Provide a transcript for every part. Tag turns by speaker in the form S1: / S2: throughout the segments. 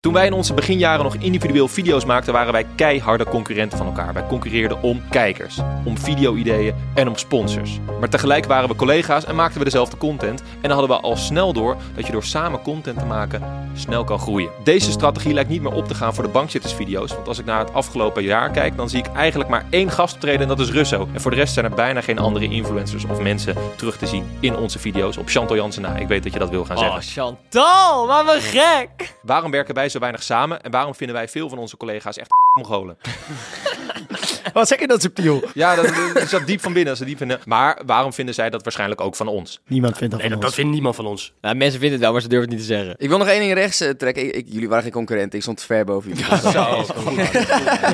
S1: Toen wij in onze beginjaren nog individueel video's maakten, waren wij keiharde concurrenten van elkaar. Wij concurreerden om kijkers, om video-ideeën en om sponsors. Maar tegelijk waren we collega's en maakten we dezelfde content. En dan hadden we al snel door dat je door samen content te maken snel kan groeien. Deze strategie lijkt niet meer op te gaan voor de bankzittersvideo's. Want als ik naar het afgelopen jaar kijk, dan zie ik eigenlijk maar één gastoptreden en dat is Russo. En voor de rest zijn er bijna geen andere influencers of mensen terug te zien in onze video's. Op Chantal Jansen na, ik weet dat je dat wil gaan zeggen.
S2: Oh, Chantal, wat een gek!
S1: Waarom werken wij zo weinig samen en waarom vinden wij veel van onze collega's echt mongolen?
S3: Wat zeg je dat subtiel?
S1: Ja, dat, dat zat diep van binnen. Dat zat diep van binnen. Maar waarom vinden zij dat waarschijnlijk ook van ons?
S3: Niemand vindt dat
S2: Nee,
S3: van ons.
S2: dat, dat vindt niemand van ons.
S4: Nou, mensen vinden het wel, maar ze durven het niet te zeggen.
S5: Ik wil nog één ding rechts eh, trekken. Ik, ik- jullie waren geen concurrenten. Ik stond ver boven jullie.
S4: Zo,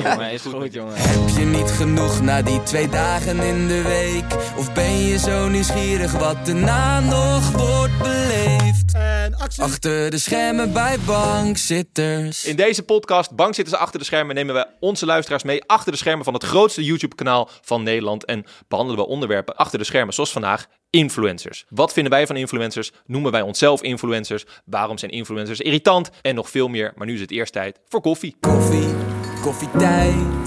S4: jongen, is goed, jongen.
S6: Heb je niet genoeg na die twee dagen in de week? Of ben je zo nieuwsgierig wat daarna nog wordt beleefd? Achter de schermen bij bankzitters.
S1: In deze podcast, Bank zitten ze achter de schermen, nemen wij onze luisteraars mee achter de schermen van het grootste YouTube-kanaal van Nederland. En behandelen we onderwerpen achter de schermen, zoals vandaag influencers. Wat vinden wij van influencers? Noemen wij onszelf influencers? Waarom zijn influencers irritant? En nog veel meer. Maar nu is het eerst tijd voor koffie.
S6: Koffie, koffietijd.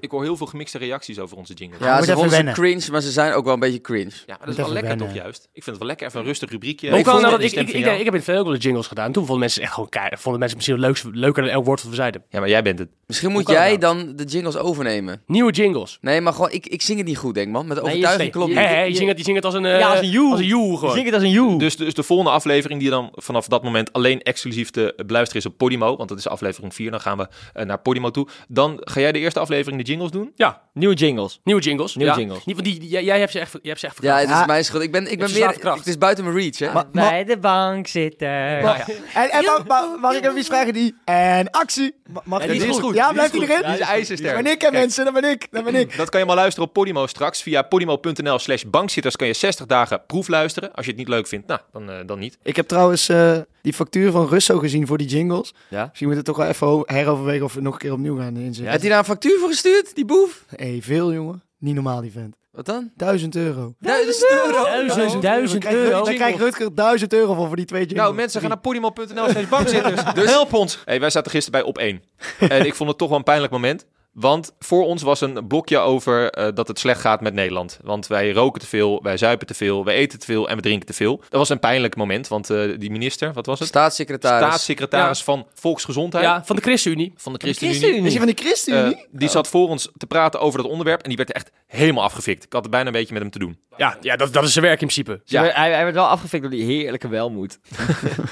S1: Ik hoor heel veel gemixte reacties over onze jingle.
S5: Ja,
S3: moet
S5: ze
S3: even
S5: vonden ze
S3: wennen.
S5: cringe, maar ze zijn ook wel een beetje cringe.
S1: Ja, maar dat
S3: Moet
S1: is wel
S3: even
S1: lekker
S3: wennen.
S1: toch juist? Ik vind het wel lekker, even een rustig rubriekje.
S2: Hoe
S1: Ik
S2: kwam het
S1: vond
S2: nou dat
S1: die
S2: ik,
S1: stem
S2: ik,
S1: van jou.
S2: ik, ik heb in het verleden ook wel de jingles gedaan. Toen vonden mensen echt gewoon keihard. Vonden mensen misschien het leukste- leuker dan elk woord wat we zeiden.
S1: Ja, maar jij bent het.
S5: Misschien moet
S2: kan dat
S5: jij dan de jingles overnemen.
S2: Nieuwe jingles.
S5: Nee, maar gewoon, ik, ik zing het niet goed, denk ik, man. Met
S4: je
S5: overtuiging
S4: steekt-
S5: klopt
S2: Hé,
S5: niet.
S2: hé, je zingt het, je zingt het als een... eh,
S4: Ja, als een joe.
S2: Als een joe gewoon.
S4: Zing het als een joe.
S1: Dus, dus de volgende aflevering die dan vanaf dat moment alleen exclusief te beluisteren is op Podimo. Want dat is aflevering 4. Dan gaan we eh, naar Podimo toe. Dan ga jij de eerste aflevering de jingles doen.
S2: Ja,
S4: Nieuwe jingles.
S2: nieuwe jingles.
S4: Nieuwe
S2: ja.
S4: jingles.
S2: Niet van die, die- jij, jij hebt ze echt, ver- jij hebt ze echt
S5: Ja,
S2: verkracht.
S5: het is
S3: Ja.
S5: mijn schuld. Ik ben, ik ben
S2: is
S5: meer,
S2: slaafkracht.
S5: het is buiten mijn reach, hè.
S3: Maar- maar-
S4: de bank zitten.
S3: maar- en, en mag, mag- mag ik even iets vragen? Die, en actie. Ma- Mag
S1: Ja,
S3: ik-
S1: die is goed.
S3: Ja,
S1: Die
S3: blijft
S1: is
S3: die
S1: goed.
S3: erin?
S1: Die is ijzersterk.
S3: Dan ben ik, hè, mensen. Dan ben ik. Dan ben ik.
S1: Dat kan je maar luisteren op Podimo straks. Via podimo.nl slash bankzitters kan je 60 dagen proef luisteren. Als je het niet leuk vindt, nou, dan, eh, dan niet.
S3: Ik heb trouwens eh, die factuur van Russo gezien voor die jingles.
S5: Ja.
S3: Misschien moeten we toch wel even ho- heroverwegen of we nog een keer opnieuw gaan inzetten.
S5: Heeft hij daar een factuur voor gestuurd, die boef?
S3: hey, veel jongen. Niet normaal die vent.
S5: Wat dan?
S3: 1000 euro.
S5: Duizend euro.
S4: Duizend, duizend
S3: Krijgt-
S4: euro.
S3: Dan krijgt Rutger 1000 euro voor, voor die twee jingles.
S1: Nou, mensen, gaan naar podimo.nl slash bankzitters. Dus help ons. Hey, wij zaten gisteren bij op 1. en ik vond het toch wel een pijnlijk moment. Want voor ons was een blokje over eh, dat het slecht gaat met Nederland. Want wij roken te veel, wij zuipen te veel, wij eten te veel en we drinken te veel. Dat was een pijnlijk moment, want eh, die minister, wat was het?
S5: Staatssecretaris.
S1: Staatssecretaris van Volksgezondheid
S2: Ja, van de ChristenUnie.
S1: van de ChristenUnie.
S4: ChristenUnie.
S3: Is je van de ChristenUnie?
S1: Eh, die zat voor ons te praten over dat onderwerp en die werd echt helemaal afgefikt. Ik had er bijna een beetje met hem te doen.
S2: Ja, ja dat, dat is zijn werk in principe.
S1: Ja.
S4: Hij, hij werd wel afgefikt door die heerlijke welmoed.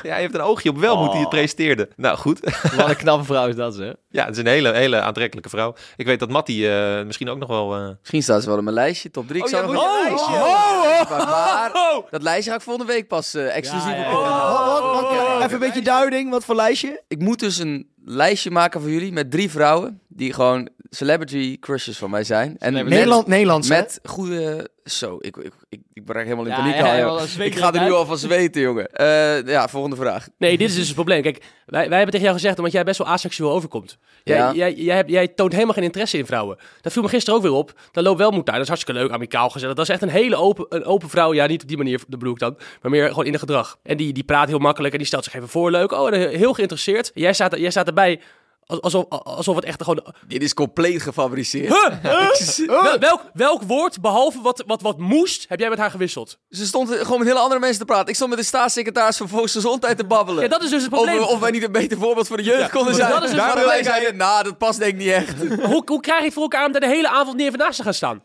S1: Ja, hij heeft een oogje op Welmoed die het presenteerde. Nou goed,
S4: Wat een knappe vrouw is dat, hè?
S1: Ja, het is een hele, hele aantrekkelijke vrouw. Ik weet dat Matty eh, misschien ook nog wel... eh,
S5: Misschien staat ze wel op mijn lijstje, top 3.
S1: Oh, jij moet je lijstje.
S5: Maar dat lijstje ga ik volgende week pas eh, exclusief op.
S3: Wat- wat- wat- even een beetje duiding. Wat voor lijstje?
S5: Ik moet dus een lijstje maken voor jullie met drie vrouwen die gewoon celebrity crushes van mij zijn. En met,
S3: Nederland, Nederlands, hè?
S5: met goede... Zo, ik, ik, ik, ik ben er helemaal in
S4: Ja,
S5: paniek
S4: ja,
S5: al,
S4: ja,
S5: joh.
S4: wel een zweet
S5: Ik ga er nu
S4: eruit.
S5: al van zweten, jongen. Eh, ja, volgende vraag.
S2: Nee, dit is dus het probleem. Kijk, wij, wij hebben tegen jou gezegd, omdat jij best wel asexueel overkomt. Jij,
S5: Ja.
S2: jij, jij, hebt- jij toont helemaal geen interesse in vrouwen. Dat viel me gisteren ook weer op. Dan loopt wel moed daar. Dat is hartstikke leuk, amicaal gezellig. Dat is echt een hele open, een open vrouw. Ja, niet op die manier, dat bedoel ik dan. Maar meer gewoon in het gedrag. En die, die praat heel makkelijk en die stelt zich even voor leuk. Oh, en heel geïnteresseerd. Jij staat, jij staat erbij als- alsof, alsof het echt gewoon...
S5: Dit is compleet gefabriceerd.
S2: Wel- welk, welk woord, behalve wat, wat, wat moest, heb jij met haar gewisseld?
S5: Ze stond gewoon met hele andere mensen te praten. Ik stond met de staatssecretaris van Volksgezondheid te babbelen.
S2: Ja, dat is dus het probleem.
S5: Over of wij niet een beter voorbeeld voor de jeugd konden
S2: maar
S5: zijn.
S2: dat is dus
S5: Maar
S2: wat
S5: wij
S2: wij
S5: zeiden, nou, dat past denk ik niet echt.
S2: hoe, hoe krijg je het voor elkaar om daar de hele avond neer vandaag te gaan staan?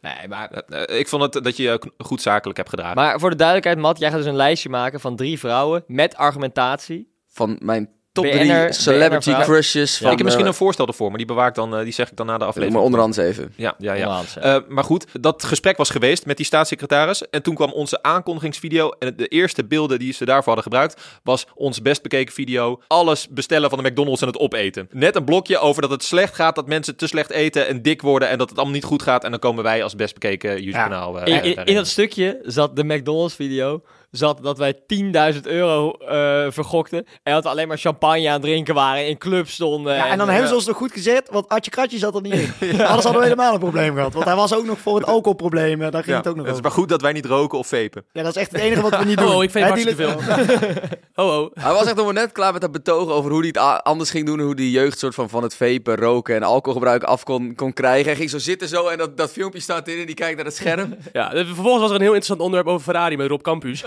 S4: Nee, maar...
S1: eh, ik vond het dat je je goed zakelijk hebt gedragen.
S4: Maar voor de duidelijkheid, Matt, jij gaat dus een lijstje maken van drie vrouwen met argumentatie.
S5: Van mijn top
S4: BN'er,
S5: drie celebrity
S4: BN'er vrouw.
S5: crushes van...
S1: ik heb misschien
S5: eh,
S1: een voorstel ervoor, maar die bewaar ik dan, eh, die zeg ik dan na de
S5: Doe
S1: aflevering.
S5: maar onderhands even.
S1: Ja, ja, ja.
S4: Onderhands, ja.
S1: Eh, maar goed, dat gesprek was geweest met die staatssecretaris. En toen kwam onze aankondigingsvideo. En de eerste beelden die ze daarvoor hadden gebruikt, was ons best bekeken video. Alles bestellen van de McDonald's en het opeten. Net een blokje over dat het slecht gaat, dat mensen te slecht eten en dik worden. En dat het allemaal niet goed gaat. En dan komen wij als best bekeken YouTube-kanaal. eh,
S4: In, in,
S1: daarin.
S4: in dat stukje zat de McDonald's video zat dat wij 10.000 euro eh, vergokten. En dat we alleen maar champagne aan het drinken waren, in clubs stonden.
S3: Ja, en dan
S2: eh,
S3: hebben ze ons nog goed gezet, want Atje Kratje zat er niet in. Anders hadden we helemaal een probleem gehad. Want hij was ook nog voor het alcoholprobleem. eh, Daar ging
S1: Ja,
S3: het ook
S1: het
S3: nog
S1: is
S3: over.
S1: maar goed dat wij niet roken of vapen.
S3: Ja, dat is echt het enige wat we niet doen.
S2: Oh, ik vind het
S3: Hè,
S2: hartstikke
S3: Dylan?
S2: veel. Oh, oh.
S5: Hij was echt nog maar net klaar met dat betogen over hoe hij het a- anders ging doen. en Hoe die jeugd soort van, van het vapen, roken en alcoholgebruik af kon, kon krijgen. Hij ging zo zitten zo en dat, dat filmpje staat in en die kijkt naar het scherm.
S2: Ja, en vervolgens was er een heel interessant onderwerp over Ferrari met Rob Campus.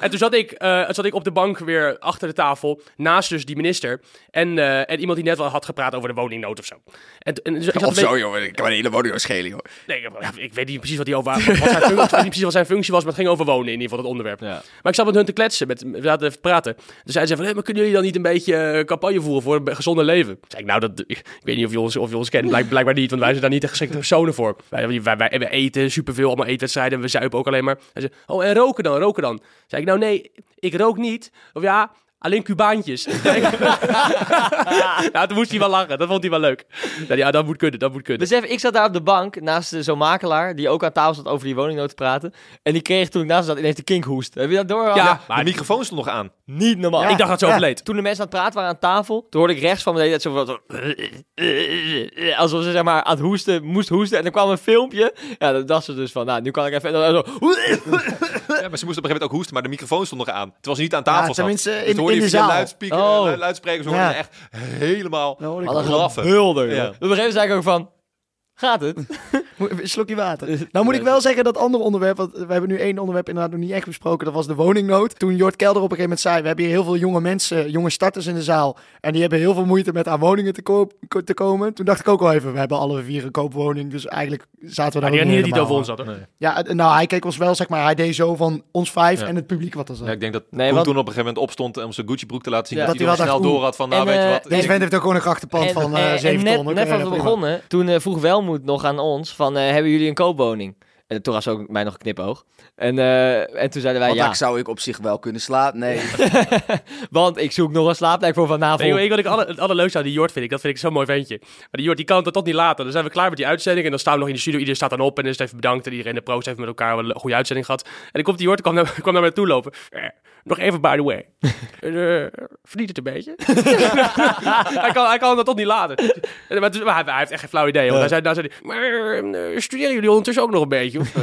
S2: en toen zat ik, eh, zat ik op de bank weer achter de tafel, naast dus die minister. En, eh, en iemand die net wel had gepraat over de woningnood of zo. En, t- en dus ik zat een
S5: Of
S2: beetje-
S5: zo, joh. Ik kan mijn hele woning wel schelen, joh.
S2: Nee, ik, heb- ik weet niet precies wat, die over, wat zijn functie, ik weet niet precies wat zijn functie was, maar het ging over wonen in ieder geval, dat onderwerp.
S4: Ja.
S2: Maar ik zat met hun te kletsen, met, we zaten even te praten. Toen zeiden ze van, "Hé, maar kunnen jullie dan niet een beetje eh, campagne voeren voor een be- gezonder leven? Toen zei ik, nou, dat, ik, ik weet niet of je ons, of je ons kent, Blijk- blijkbaar niet, want wij zijn daar niet de geschikte personen voor. Wij, wij, wij, wij- wij eten superveel, allemaal eetwedstrijden, we zuipen ook alleen maar. Hij zei, oh, en roken dan, roken dan. Toen zei ik, nou nee, ik rook niet, of ja... Alleen Cubaantjes. nou, toen moest hij wel lachen. Dat vond hij wel leuk. Nou, ja, dat moet kunnen. Dat moet kunnen.
S4: Besef, ik zat daar op de bank naast eh, zo'n makelaar die ook aan tafel zat over die woningnood te praten. En die kreeg toen ik naast hem zat ineens de kinkhoest. Heb je dat door?
S2: Ja, maar
S1: de microfoon stond nog aan.
S4: Niet normaal.
S3: Ja.
S4: Ik
S2: ik dacht dat ze
S3: Ja.
S2: overleed.
S4: Toen de mensen aan het praten waren aan tafel, toen hoorde ik rechts van me dat zo van... eh, Alsof ze zeg maar aan het hoesten, moest hoesten. En dan kwam een filmpje. Ja, dan dacht ze dus van, nou, nu kan ik even... En dan zo...
S1: Ja, maar ze moest op een geven moment ook hoesten, maar de microfoon stond nog aan. Terwijl ze niet aan
S3: Ja,
S1: tafel zat.
S3: tenminste,
S1: Dus
S3: in-
S1: toen hoorde
S3: in
S1: je
S3: de
S1: via
S3: zaal.
S1: luidsprekers,
S4: Oh.
S1: lu- luidsprekers hoorde
S3: Ja.
S1: je echt helemaal
S3: Nou, hoor ik
S4: Wat een
S3: wel.
S1: blaffen. Ja.
S4: hulder. Op een gegeven moment zei ik ook van... Gaat het?
S3: Moet- Een slokje water. Nou moet ik wel zeggen dat andere onderwerp, want we hebben nu één onderwerp inderdaad nog niet echt besproken, dat was de woningnood. Toen Jort Kelder op een gegeven moment zei, we hebben hier heel veel jonge mensen, jonge starters in de zaal, en die hebben heel veel moeite met aan woningen te, koop, ko- te komen. Toen dacht ik ook al even, we hebben alle vier een koopwoning, dus eigenlijk zaten we daar
S2: Maar die
S3: ook
S2: had
S3: niet
S2: niet over
S3: helemaal
S2: ons had, hoor.
S3: aan. Ja, het- nou hij keek ons wel, zeg maar, hij deed zo van ons vijf
S1: Ja.
S3: en het publiek wat er zat.
S1: Ja, ik denk dat
S4: Nee,
S1: Koen
S4: want-
S1: toen op een gegeven moment opstond om zijn Gucci broek te laten zien.
S3: Ja,
S1: dat,
S3: dat
S1: hij nog
S3: hij wel
S1: snel
S3: dacht,
S1: door had van, nou
S4: en,
S1: weet je
S4: eh,
S1: wat.
S4: nee,
S3: Deze vent heeft ook gewoon een krachtenpand
S4: En,
S3: van
S4: eh,
S3: eh
S4: en
S3: 7
S4: net,
S3: ton. hoor.
S4: Net
S3: Oké,
S4: voordat
S3: ja,
S4: we
S3: prima.
S4: begonnen, toen eh, vroeg Welmoed nog aan ons van, eh, hebben jullie een koopwoning? En toen was ook mij nog een knipoog. En, eh, en toen zeiden wij
S5: Want
S4: ja,
S5: daar zou ik op zich wel kunnen slaan. Nee.
S4: want ik zoek nog een slaapplek voor vanavond.
S2: Nee, joh, ik, wat ik alle, het allerleukste aan die Jort vind ik, dat vind ik zo'n mooi ventje. Maar die Jort, die kan het tot niet laten. Dan zijn we klaar met die uitzending en dan staan we nog in de studio. Iedereen staat dan op en is het even bedankt. En iedereen in de proost heeft met elkaar wel een goede uitzending gehad. En dan komt die Jort, kwam naar, kwam naar mij toe lopen. Eh, Nog even by the way. Eh, eh, verdient het een beetje? hij, kan, hij kan dat toch niet laten. Eh, Maar, het is- maar hij, hij heeft echt geen flauw idee. Want hij zei, nou, zei hij, maar eh, studeren jullie ondertussen ook nog een beetje? Of, eh,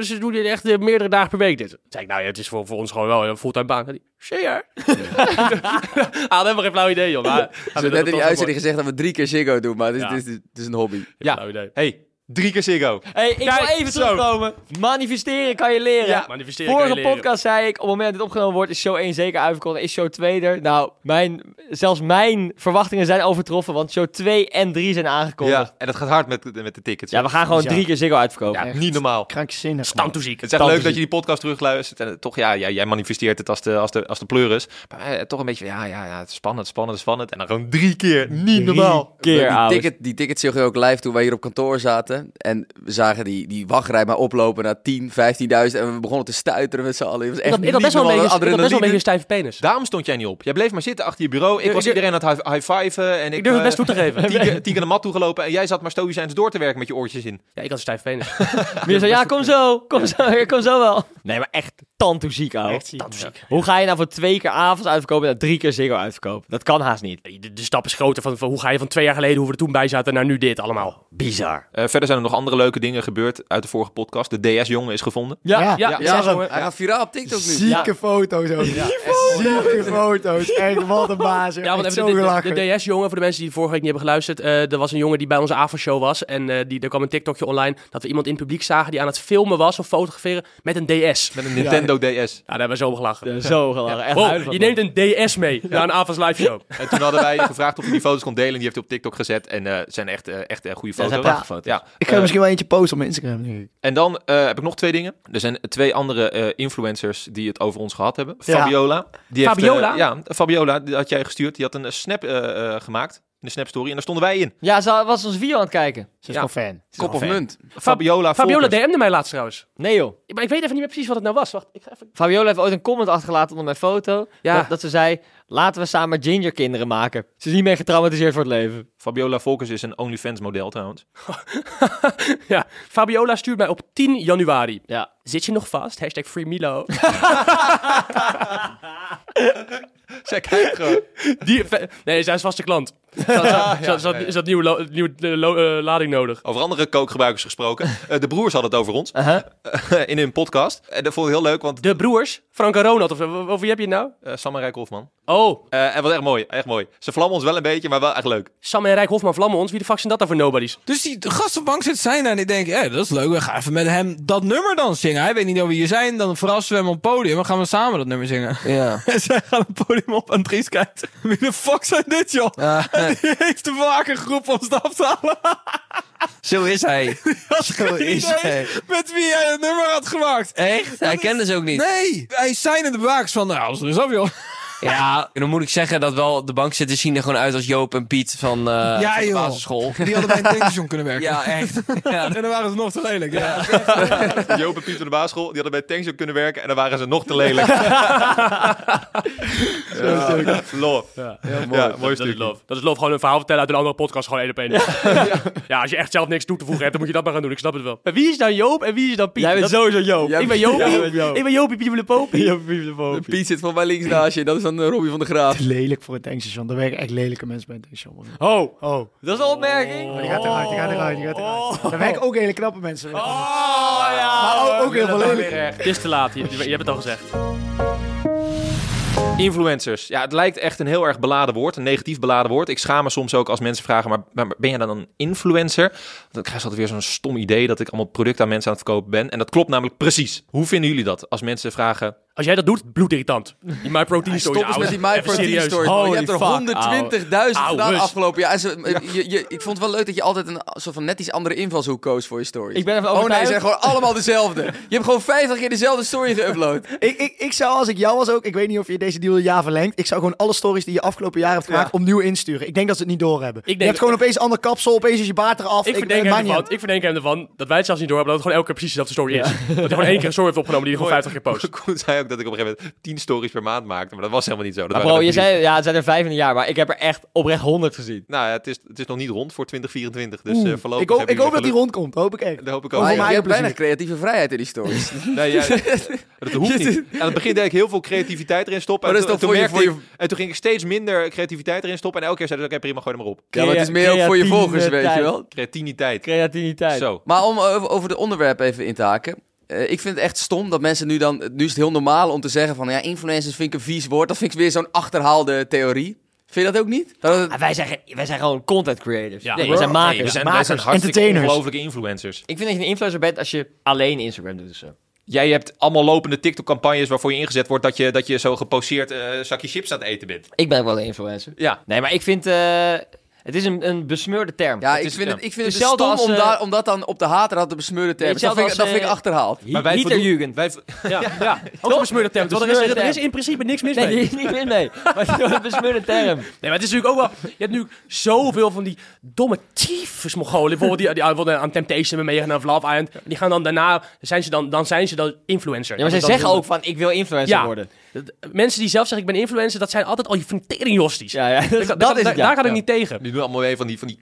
S2: ze doen dit echt eh, meerdere dagen per week dit? Toen zei ik, nou ja, het is voor, voor ons gewoon wel een fulltime baan. Zei hij, zeker. Hij had helemaal geen flauw idee, joh. Maar,
S5: Ze hebben net in die uitzending gezegd dat we drie keer Ziggo doen, maar dit, dit, dit is een hobby.
S1: Ja.
S2: Flauw Nou, idee.
S1: hey, drie keer Ziggo.
S4: hey, ik wil
S2: Kijk,
S4: even
S2: zo.
S4: terugkomen. Manifesteren kan je leren.
S2: Ja, manifesteren kan je
S4: Vorige
S2: leren.
S4: podcast zei ik, op het moment dat dit opgenomen wordt, is show 1 zeker uitverkocht. Is show 2 er? Nou, mijn, zelfs mijn verwachtingen zijn overtroffen, want show 2 en 3 zijn aangekondigd. Ja,
S1: Ja, en dat gaat hard met, met de tickets.
S4: we gaan gewoon
S3: Ja.
S4: drie keer Ziggo uitverkopen.
S1: Ja, niet normaal.
S3: Krankzinnig. man.
S2: Stamtoeziek.
S1: Het is echt leuk dat je die podcast terugluistert. En eh, toch, ja, jij, jij manifesteert het als de, als de, als de pleuris. Maar eh, toch een beetje van, ja, ja, ja, het is spannend, spannend, spannend. En dan gewoon drie keer, niet normaal.
S4: Keer,
S5: die,
S4: ouwe.
S5: ticket, die tickets zag je ook live toen wij hier op kantoor zaten. En we zagen die, die wachtrij maar oplopen naar 10, 15.000. En we begonnen te stuiteren met z'n allen. Het was echt
S2: Ik had, ik had best wel een
S5: niet
S2: beetje, ik had
S5: normaal,
S2: best wel een
S5: adrenaline.
S2: beetje een stijve penis.
S1: Daarom stond jij niet op. Jij bleef maar zitten achter je bureau. Ik
S2: Ik
S1: was
S2: durf-
S1: iedereen aan het high-fiven. En ik,
S2: Ik durf het
S1: eh,
S2: best toe te geven.
S1: tien keer- tien keer de mat toegelopen. En jij zat maar stoïcijns door te werken met je oortjes in.
S2: Ja, ik had een stijve penis.
S4: Meer zo, ja, kom zo, kom zo, kom zo wel. Nee, maar echt tantoeziek, ouwe.
S3: Echt ziek.
S4: Ja. Hoe ga je nou voor twee keer avonds uitverkopen en dan drie keer Ziggo uitverkopen? Dat kan haast niet.
S2: De, de stap is groter van, van hoe ga je van twee jaar geleden, hoe we er toen bij zaten, naar nu dit allemaal.
S4: Bizar.
S1: Eh, verder zijn er nog andere leuke dingen gebeurd uit de vorige podcast. De DS-jongen is gevonden.
S4: Ja,
S3: Ja.
S4: ja.
S2: Ja,
S5: Ja,
S2: ja,
S5: hij gaat viraal op TikTok nu.
S3: Zieke foto's ook. Zieke foto's. Echt, wat een baas. Ja,
S2: Ja, want
S3: want
S2: even
S3: zo
S2: de,
S3: gelachen.
S2: de, de DS-jongen, voor de mensen die vorige week niet hebben geluisterd, eh, er was een jongen die bij onze avondshow was en eh, die, er kwam een TikTokje online dat we iemand in het publiek zagen die aan het filmen was of fotograferen met een DS. Ja,
S1: Met een Nintendo DS.
S2: daar hebben we zo om gelachen.
S4: Zo gelachen. Echt
S2: Wow,
S4: huilen van
S2: je
S4: het
S2: neemt een DS mee naar een avonds live show.
S1: En toen hadden wij gevraagd of hij die foto's kon delen. En die heeft hij op TikTok gezet. En eh, zijn echt, eh, echt eh, goede
S4: zijn
S1: foto's.
S4: prachtige foto's.
S1: Ja. Eh,
S3: Ik ga er misschien wel eentje posten op mijn Instagram, denk ik.
S1: En dan eh, heb ik nog twee dingen. Er zijn twee andere eh, influencers die het over ons gehad hebben.
S3: Ja.
S1: Fabiola. Die
S2: Fabiola?
S1: Heeft, eh, ja, Fabiola, die had jij gestuurd. Die had een eh, snap eh, eh, gemaakt. in de Snap Story. En daar stonden wij in.
S4: Ja, ze was ons video aan het kijken.
S3: Ze is
S1: Ja.
S3: gewoon fan.
S5: Kop of
S1: fan.
S5: munt.
S1: Fabiola,
S2: Fabiola
S1: Volkers.
S2: DM'de mij laatst trouwens.
S4: Nee joh.
S2: Maar ik weet even niet meer precies wat het nou was. Wacht, ik ga even...
S4: Fabiola heeft ooit een comment achtergelaten onder mijn foto.
S2: Ja.
S4: Dat, dat ze zei, laten we samen ginger kinderen maken. Ze is niet meer getraumatiseerd voor het leven.
S1: Fabiola Volkers is een OnlyFans model trouwens.
S2: Ja, Fabiola stuurt mij op 10 januari.
S4: Ja.
S2: Zit je nog vast? Hashtag Free Milo.
S5: Zij kijkt gewoon.
S2: Die, fe- nee, zij is vaste klant. Ze had- Ze had- ze had- ze had- ze had nieuwe lo- nieuwe eh, lo- eh, lading nodig.
S1: Over andere kookgebruikers gesproken. Eh, de broers hadden het over ons eh, in hun podcast. En dat vond ik heel leuk, want
S2: De broers, Frank en Ronald, of, of, of wie heb je het nou?
S1: eh, Sam en Rijk Hofman.
S2: Oh,
S1: Eh, en wat echt mooi, echt mooi. Ze vlammen ons wel een beetje, maar wel echt leuk.
S2: Sam en Rijk Hofman vlammen ons. Wie de fuck zijn dat dan voor nobodies?
S7: Dus die gast op bank zit zijn daar en die denkt, hé, dat is leuk, we gaan even met hem dat nummer dan zingen. Hij weet niet wie je zijn, dan verrassen we hem op het podium en gaan we samen dat nummer zingen.
S5: Ja.
S7: En zij gaan het podium op en Dries kijkt, wie de fuck zijn dit joh?
S5: Ah,
S7: Die heeft de waken groep om ze af te halen.
S5: zo is hij.
S7: Dat
S5: Zo is hij.
S7: Met wie hij het nummer had gemaakt.
S5: Echt? Hij kende ze ook niet.
S7: Nee, hij zijn in de wakers van, nou, ze is af joh.
S5: Ja, en dan moet ik zeggen dat wel de bankzitters zien er gewoon uit als Joop en Piet van, eh,
S7: Ja,
S5: van de
S7: joh.
S5: basisschool.
S7: Die hadden bij een tankstation kunnen werken.
S5: Ja, echt.
S7: En dan waren ze nog te lelijk. Ja.
S1: Joop en Piet van de basisschool, die hadden bij Tanks ook kunnen werken en dan waren ze nog te lelijk. ja, love.
S2: Ja,
S1: mooi.
S2: dat- dat, is
S1: stukje.
S2: love. Dat is love, gewoon een verhaal vertellen uit een andere podcast, gewoon één op één. ja. als je echt zelf niks toe te voegen hebt, dan moet je dat maar gaan doen. Ik snap het wel. En wie is
S4: nou
S2: dan Joop en wie is dan Piet?
S4: Jij bent
S2: Dat-
S4: sowieso Joop.
S5: Jij
S2: Ik ben Joopie, ik ben Joopie Piepelepopie.
S5: Piet zit voor mij links naast je, dat is dan eh, Robbie van de Graaf.
S3: Lelijk voor het tankstation. Er werken echt lelijke mensen bij het tankstation. man.
S2: Oh,
S3: Oh.
S4: Dat is een opmerking.
S3: Die gaat eruit, die gaat eruit, die gaat eruit. Er werken ook hele knappe mensen.
S2: oh ja.
S3: Maar ook, ook heel veel lelijke.
S2: Het is te laat, je, je hebt het al gezegd.
S1: Influencers. Ja, het lijkt echt een heel erg beladen woord. Een negatief beladen woord. Ik schaam me soms ook als mensen vragen, maar, maar ben jij dan een influencer? Dan krijg je altijd weer zo'n stom idee dat ik allemaal producten aan mensen aan het verkopen ben. En dat klopt namelijk precies. Hoe vinden jullie dat als mensen vragen...
S2: Als jij dat doet, bloedirritant. Die My Protein Stories,
S5: Stop eens met die
S2: ouwe.
S5: My
S2: Even
S5: Protein
S2: serieus.
S5: stories. man. Je
S2: Holy
S5: hebt er
S2: fuck,
S5: 120.000
S2: ouwe.
S5: gedaan
S2: Ouwe.
S5: afgelopen jaar. En ze- je, je, ik vond het wel leuk dat je altijd een soort van net iets andere invalshoek koos voor je stories.
S4: Ik ben ervan
S5: oh nee, ze
S4: overtuigd.
S5: zijn gewoon allemaal dezelfde. Je hebt gewoon 50 keer dezelfde story geüpload.
S3: Ik, ik, ik zou, als ik jou was ook, ik weet niet of je deze deal een jaar verlengt. Ik zou gewoon alle stories die je afgelopen jaar hebt gemaakt opnieuw insturen. Ik denk dat ze het niet doorhebben.
S2: denk-
S3: je hebt gewoon opeens ander kapsel, opeens is je baard eraf.
S2: Ik verdenk,
S3: maakt
S2: hem
S3: niet
S2: ervan,
S3: uit.
S2: ik verdenk hem ervan dat wij het zelfs niet door hebben dat het gewoon elke keer precies dezelfde story is. Dat hij gewoon één keer een story heeft opgenomen die hij gewoon 50 keer post.
S1: Koen zei ook dat ik op een gegeven moment 10 stories per maand maakte. Maar dat was helemaal niet zo. Dat waren
S4: Bro,
S1: er
S4: je
S1: drie.
S4: zei, ja, het zijn er vijf in een jaar, maar ik heb er echt oprecht honderd gezien.
S1: Nou ja, het is, het is nog niet rond voor 2024. Dus eh voorlopig
S3: Ik hoop,
S1: hebben
S3: ik hoop dat
S1: jullie
S3: die rondkomt, hoop ik echt.
S1: geluk. Dat hoop ik ook.
S5: Maar
S3: Over
S5: je
S3: mijn
S5: hebt
S3: plezier.
S5: weinig creatieve vrijheid in die stories.
S1: Nee, ja, dat hoeft niet. Aan het begin deed ik heel veel creativiteit erin stoppen.
S5: Maar
S1: en,
S5: Oh, dat is
S1: toen-
S5: toch
S1: toen
S5: voor je-
S1: merkte ik- en toen ging ik steeds minder creativiteit erin stoppen. En elke keer zei ik, oké, prima, gooi hem maar op.
S5: Ja, maar het is meer ook voor je volgers, weet je wel.
S1: Creatiniteit.
S4: Creativiteit.
S1: Zo.
S5: Maar om over, over de onderwerp even in te haken. Eh, ik vind het echt stom dat mensen nu dan... Nu is het heel normaal om te zeggen van... Ja, influencers vind ik een vies woord. Dat vind ik weer zo'n achterhaalde theorie. Vind je dat ook niet? Dat het-
S4: Ah, wij, zijn, geen- wij zijn gewoon content creators.
S2: Ja.
S4: nee, wij zijn
S1: Nee,
S4: makers.
S1: we zijn, wij zijn hartstikke
S3: entertainers.
S1: ongelooflijke influencers.
S4: Ik vind dat je een influencer bent als je alleen Instagram doet. Dus. eh.
S1: Jij hebt allemaal lopende TikTok-campagnes waarvoor je ingezet wordt dat je, dat je zo geposeerd eh zakje chips aan het eten bent.
S4: Ik ben wel een influencer.
S1: Ja.
S4: Nee, maar ik vind... eh, het is een, een besmeurde term.
S5: Ja,
S1: Het
S5: ik
S1: is-
S5: vind
S1: ja.
S5: het, ik vind het dus
S4: Hetzelfde
S5: stom
S4: als,
S5: om,
S4: eh,
S5: daar, om dat dan op de haterhand te besmeuren te hebben. Dat vind,
S4: hetzelfde
S5: ik, dat
S4: als,
S5: vind ik
S4: eh,
S5: achterhaald.
S1: Maar wij voldoen-
S4: Hitlerjugend.
S1: Wij,
S2: Ja, ja. ook een besmeurde term. Want er is, er is in principe niks mis
S4: Nee,
S2: mee.
S4: die is niet meer mee. Maar het is wel een besmeurde term.
S2: Nee, maar het is natuurlijk ook wel... Je hebt nu zoveel van die domme tyfus Mongolen. Bijvoorbeeld die, die, die aan Temptation hebben meegedaan of Love Island. Die gaan dan daarna... Zijn ze dan, dan zijn ze dan influencer.
S4: Ja, maar zij
S2: Dat is
S4: zeggen
S2: dan-
S4: ook van, ik wil influencer
S2: Ja.
S4: worden.
S2: Mensen die zelf zeggen, ik ben influencer, dat zijn altijd al je van teringjosties.
S4: Ja, ja. Dat,
S2: Daar-
S4: dat
S2: daar-
S4: is het, ja.
S2: Daar kan ik
S4: Ja.
S2: niet tegen.
S1: die doen allemaal mee van die, van die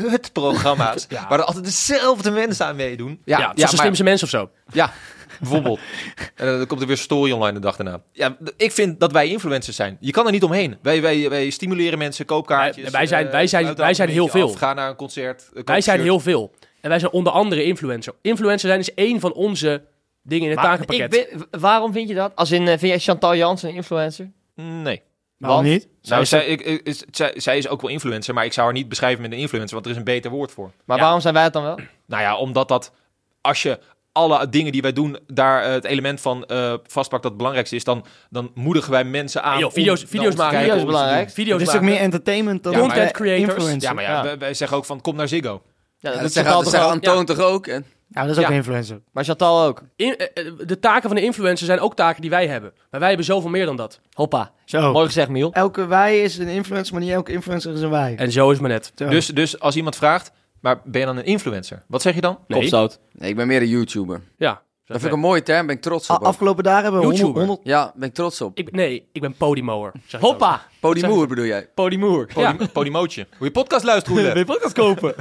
S1: kutprogramma's waar er altijd dezelfde mensen aan meedoen.
S2: Ja, zoals de
S1: maar-
S2: slimste mensen of zo.
S1: Ja, bijvoorbeeld. En dan komt er weer een story online de dag daarna. Ja, d- ik vind dat wij influencers zijn. Je kan er niet omheen. Wij, wij, wij stimuleren mensen, koopkaartjes.
S2: Wij- wij zijn-
S1: eh,
S2: wij zijn-
S1: sluit
S2: wij
S1: daar
S2: zijn
S1: een beetje
S2: heel
S1: af,
S2: veel.
S1: Ga naar een concert. eh, koop
S2: Wij
S1: een
S2: zijn
S1: shirt.
S2: heel veel. En wij zijn onder andere influencer. Influencer zijn is één van onze dingen in het
S4: Maar
S2: takenpakket.
S4: ik ben- w- waarom vind je dat? Als in, eh, vind jij Chantal Jans een influencer?
S1: Mm, Nee.
S3: Waarom niet?
S1: Nou, zij, ik, ik- is, zij, zij is ook wel influencer, maar ik zou haar niet beschrijven met een influencer, want er is een beter woord voor.
S4: Maar
S2: Ja.
S4: waarom zijn wij het dan wel?
S1: Nou ja, omdat dat als je alle dingen die wij doen, daar eh, het element van eh, vastpakt dat het belangrijkste is, dan, dan moedigen wij mensen aan.
S2: Hey, joh,
S1: om
S2: video's-
S1: dan
S2: video's
S1: te
S2: maken.
S1: kijken om
S4: Video's is
S1: iets te
S4: belangrijk.
S1: doen.
S2: Video's
S3: Het is
S2: maken.
S3: toch meer entertainment dan
S1: Ja, maar-
S3: eh,
S2: Content creators.
S3: influencer?
S1: Ja, maar ja,
S4: Ja.
S1: wij, wij zeggen ook van kom naar Ziggo.
S4: Ja,
S5: Ja,
S4: dat
S5: dat
S4: doet
S5: zeggen
S4: Chantal
S5: dat
S4: toch
S5: zeggen
S4: wel?
S5: Antoon toch ook? Eh, En,
S3: Nou, dat is ook
S1: Ja.
S3: een influencer.
S4: Maar Chantal ook.
S2: In- eh, eh, de taken van de influencer zijn ook taken die wij hebben. Maar wij hebben zoveel meer dan dat.
S4: Hoppa.
S3: Zo.
S4: Mooi gezegd, Miel.
S3: Elke wij is een influencer, maar niet elke influencer is een wij.
S2: En zo is het maar net.
S3: Zo.
S1: Dus, dus als iemand vraagt, maar ben je dan een influencer? Wat zeg je dan?
S2: Nee.
S4: Kopstoot.
S5: Nee, ik ben meer een YouTuber.
S2: Ja.
S5: Dat vind ik een mooie term, ben ik trots
S3: A-
S5: op. ook.
S3: afgelopen dagen hebben we
S2: YouTuber.
S3: 100, 100
S5: Ja, ben ik trots op.
S2: Ik ben- nee, ik ben podimoer. zeg ik dan.
S4: Hoppa.
S5: Podimoer bedoel jij?
S4: Podimoer.
S1: Podi- Podimootje. Hoe je podcast luistert, Roelof.
S4: Wil je podcast kopen?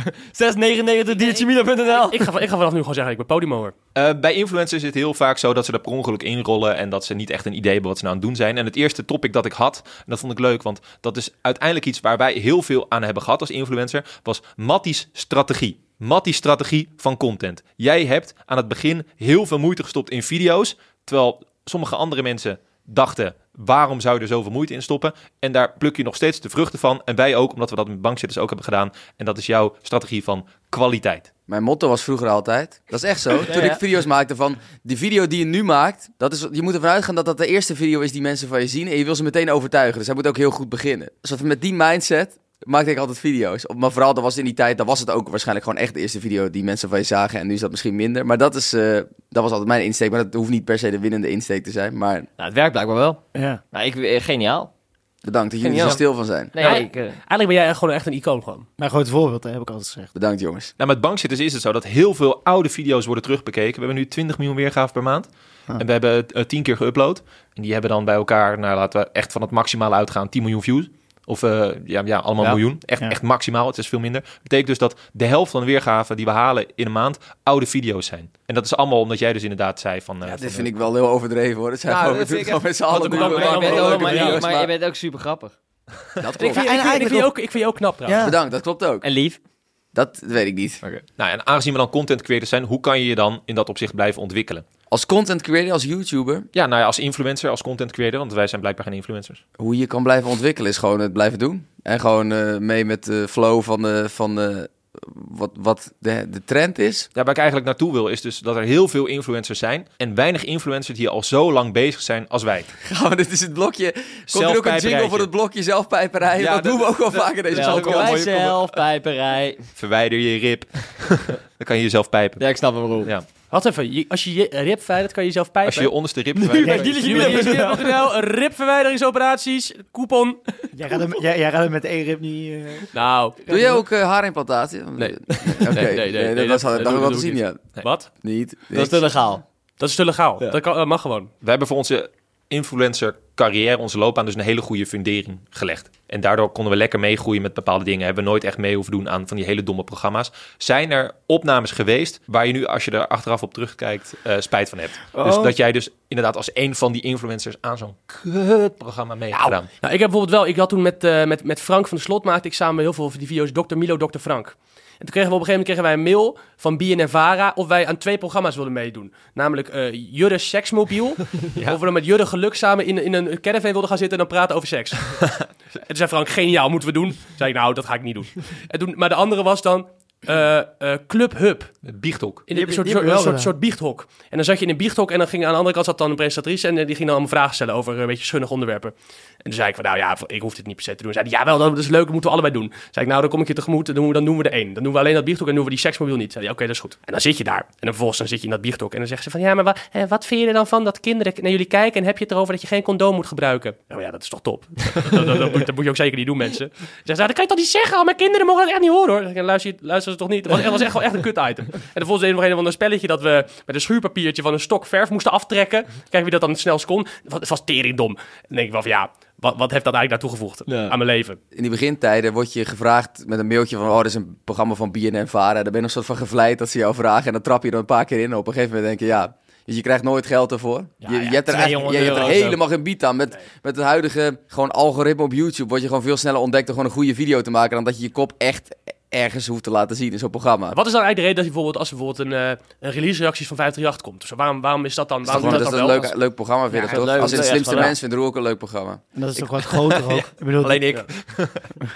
S4: 699 diertjemila.nl
S2: Ik ga, van- ik ga vanaf nu gewoon zeggen, ik ben podimoer.
S1: Eh, bij influencers is het heel vaak zo dat ze daar per ongeluk inrollen en dat ze niet echt een idee hebben wat ze nou aan het doen zijn. En het eerste topic dat ik had, en dat vond ik leuk, want dat is uiteindelijk iets waar wij heel veel aan hebben gehad als influencer, was Matties strategie. Matties strategie van content. Jij hebt aan het begin heel veel moeite gestopt in video's, terwijl sommige andere mensen dachten, waarom zou je er zoveel moeite in stoppen? En daar pluk je nog steeds de vruchten van. En wij ook, omdat we dat met bankzitters ook hebben gedaan. En dat is jouw strategie van kwaliteit.
S5: Mijn motto was vroeger altijd, dat is echt zo, toen
S4: ja.
S5: ik video's maakte van, die video die je nu maakt, dat is, je moet ervan uitgaan dat dat de eerste video is die mensen van je zien en je wil ze meteen overtuigen, dus hij moet ook heel goed beginnen. Dus dat- met die mindset maakte ik altijd video's, Op- maar vooral dat was in die tijd, dan was het ook waarschijnlijk gewoon echt de eerste video die mensen van je zagen en nu is dat misschien minder, maar dat, is, eh, dat was altijd mijn insteek, maar dat hoeft niet per se de winnende insteek te zijn, maar
S4: Nou, het werkt blijkbaar wel.
S3: Ja.
S4: Nou, ik, eh, geniaal.
S5: bedankt dat jullie er
S4: Geniaal.
S5: zo stil van zijn.
S4: Nee,
S2: Ja,
S4: ik... eh,
S2: Eigenlijk ben jij gewoon echt een icoon gewoon.
S3: Mijn groot voorbeeld, hè, heb ik altijd gezegd.
S5: Bedankt jongens.
S1: Nou, met bankzitters is het zo dat heel veel oude video's worden terugbekeken. We hebben nu 20 miljoen weergaven per maand.
S3: Ah.
S1: En we hebben eh, 10 keer geüpload. En die hebben dan bij elkaar, nou laten we echt van het maximale uitgaan, 10 miljoen views. Of eh, ja, ja, allemaal
S4: Ja.
S1: miljoen. Echt,
S3: Ja.
S1: echt maximaal, het is veel minder. Betekent dus dat de helft van de weergaven die we halen in een maand oude video's zijn. En dat is allemaal omdat jij dus inderdaad zei van... eh,
S5: Ja,
S1: van,
S5: dit vind
S1: eh,
S5: ik wel heel overdreven hoor. Dat zijn
S1: Nou,
S5: gewoon, we
S1: dat
S5: doen
S1: vind
S5: het
S1: ik
S5: gewoon met z'n allen.
S1: een
S5: doen we
S1: belangrijk
S5: maar
S4: maar,
S1: ben
S4: je
S1: moment. ook
S4: ook,
S5: leuke
S4: maar, je-
S5: video's,
S4: maar je
S5: maar-
S4: bent ook super grappig.
S5: Dat
S2: Ik
S5: klopt.
S2: vind, je- ik, vind, ik,
S3: eigenlijk
S2: vind je
S3: nog-
S2: ook, ik vind je ook knap trouwens.
S3: Ja.
S5: Bedankt, dat klopt ook.
S4: En lief.
S5: Dat weet ik niet.
S1: oké. Nou, en aangezien we dan content creators zijn, hoe kan je je dan in dat opzicht blijven ontwikkelen?
S5: Als content creator, als YouTuber,
S1: Ja, nou ja, als influencer, als content creator, want wij zijn blijkbaar geen influencers.
S5: hoe je kan blijven ontwikkelen is gewoon het blijven doen. En gewoon eh, mee met de flow van, de, van de, wat, wat de, de trend is.
S1: Ja, waar ik eigenlijk naartoe wil, is dus dat er heel veel influencers zijn. En weinig influencers die al zo lang bezig zijn als wij.
S5: Gaan we, dit is het blokje. Komt er ook een
S1: Zelfpijperijtje.
S5: jingle voor het blokje zelfpijperij?
S1: Ja,
S5: dat
S1: dat-
S5: doen we ook wel vaker deze
S1: zal
S4: Welkom
S1: ook wel
S5: podcast.
S4: bij
S1: mooi-
S4: zelfpijperij.
S1: Verwijder je rib. dan kan je jezelf pijpen.
S4: Ja, ik snap hem, Roel.
S1: Ja.
S2: Wat even, je- als je je rib verwijdert, kan je jezelf pijpen.
S1: Als je je onderste rib verwijdert.
S4: die-
S2: Dealertje.nl, ribverwijderingsoperaties, coupon.
S3: Jij gaat hem, jij, jij gaat hem met één rib niet... eh,
S2: Nou,
S5: Doe jij ook eh, haarimplantatie? Nee. Oké,
S2: nee, nee, nee,
S5: dat,
S2: dat-
S5: had ik
S2: dat
S5: dat
S2: doe
S5: wel
S2: ik
S5: te zien,
S2: niet.
S5: ja.
S2: wat?
S5: Niet.
S4: Dat is te legaal.
S2: Dat is te legaal. Dat, kan, dat mag gewoon.
S1: Wij hebben voor onze influencer carrière, onze loopbaan, dus een hele goede fundering gelegd. En daardoor konden we lekker meegroeien met bepaalde dingen. Hebben we nooit echt mee hoeven doen aan van die hele domme programma's. Zijn er opnames geweest waar je nu, als je er achteraf op terugkijkt, eh, spijt van hebt? Dus
S3: Oh.
S1: dat jij dus inderdaad als een van die influencers aan zo'n kutprogramma mee hebt gedaan.
S2: Nou, ik heb bijvoorbeeld wel, ik had toen met, eh, met, met Frank van de Slot maakte ik samen heel veel van die video's Dr. Milo, Dr. Frank. En toen kregen we op een gegeven moment kregen wij een mail van BNNVARA of wij aan twee programma's wilden meedoen. Namelijk eh Jurre Seksmobiel. Of we dan met Jurre Geluk samen in, in een caravan wilden gaan zitten en dan praten over seks. en toen zei Frank, geniaal, moeten we doen. Toen zei ik, nou, dat ga ik niet doen. En toen, maar de andere was dan eh, eh, Club Hub.
S1: Biechtok.
S3: Die
S2: In een
S3: heb-
S2: soort,
S3: die heb
S2: soort,
S3: ik wel gedaan.
S2: soort, soort biechthok. En dan zat je in een biechthok en dan ging aan de andere kant zat dan een presentatrice en eh, die ging dan allemaal vragen stellen over eh, een beetje schunnige onderwerpen. En toen zei ik van, nou ja, ik hoef dit niet per se te doen. Zei die, jawel, dat is leuk, dat moeten we allebei doen. Zei ik, nou, dan kom ik je tegemoet, dan doen we, dan doen we de één. Dan doen we alleen dat biechthok en doen we die seksmobiel niet. Zei die, oké, dat is goed. En dan zit je daar. En dan vervolgens dan zit je in dat biechthok en dan zeggen ze van, ja, maar wa- eh, wat vind je er dan van dat kinderen k- naar jullie kijken en heb je het erover dat je geen condoom moet gebruiken? Nou ja, dat is toch top. dat, dat, dat moet, dat moet je ook zeker niet doen, mensen. Ze zeggen, nou, dat kan je toch niet zeggen, al mijn kinderen mogen dat echt niet horen hoor. Ik zeg, luister, luister ze toch niet. Dat was, dat was echt wel echt een kut item. En vervolgens deden we nog een of ander spelletje dat we met een schuurpapiertje van een stok verf moesten aftrekken. Kijken wie dat dan het snelst kon. Het was teringdom. En dan denk ik wel van, ja, wat, wat heeft dat eigenlijk daar toegevoegd aan mijn leven?
S5: in die begintijden word je gevraagd met een mailtje van... oh, dit is een programma van BNN Vara. Dan ben je nog soort van gevleid dat ze jou vragen... en dan trap je er een paar keer in. Op een gegeven moment denk je, ja... Dus je krijgt nooit geld ervoor. je, je hebt er, eigenlijk- je hebt er helemaal geen bied aan. Met, met het huidige gewoon algoritme op YouTube... word je gewoon veel sneller ontdekt om gewoon een goede video te maken... dan dat je je kop echt ergens hoeft te laten zien in zo'n programma.
S2: Wat is dan eigenlijk de reden dat je bijvoorbeeld, als er bijvoorbeeld een, eh, een release-reactie van 538 komt? Dus waarom, waarom is dat dan?
S5: Dat is
S2: Waarom
S5: gewoon
S2: doet
S5: dat is
S2: dat dan
S5: een
S2: wel?
S5: leuk, leuk programma, vind ik
S2: Ja,
S5: toch?
S4: dat is leuk.
S5: Als in
S4: Dat is
S5: slimste
S4: wel leuk.
S5: mensen vindt Roel ook een leuk programma.
S3: En dat is toch wat groter ook. Ik bedoel,
S1: Alleen ik.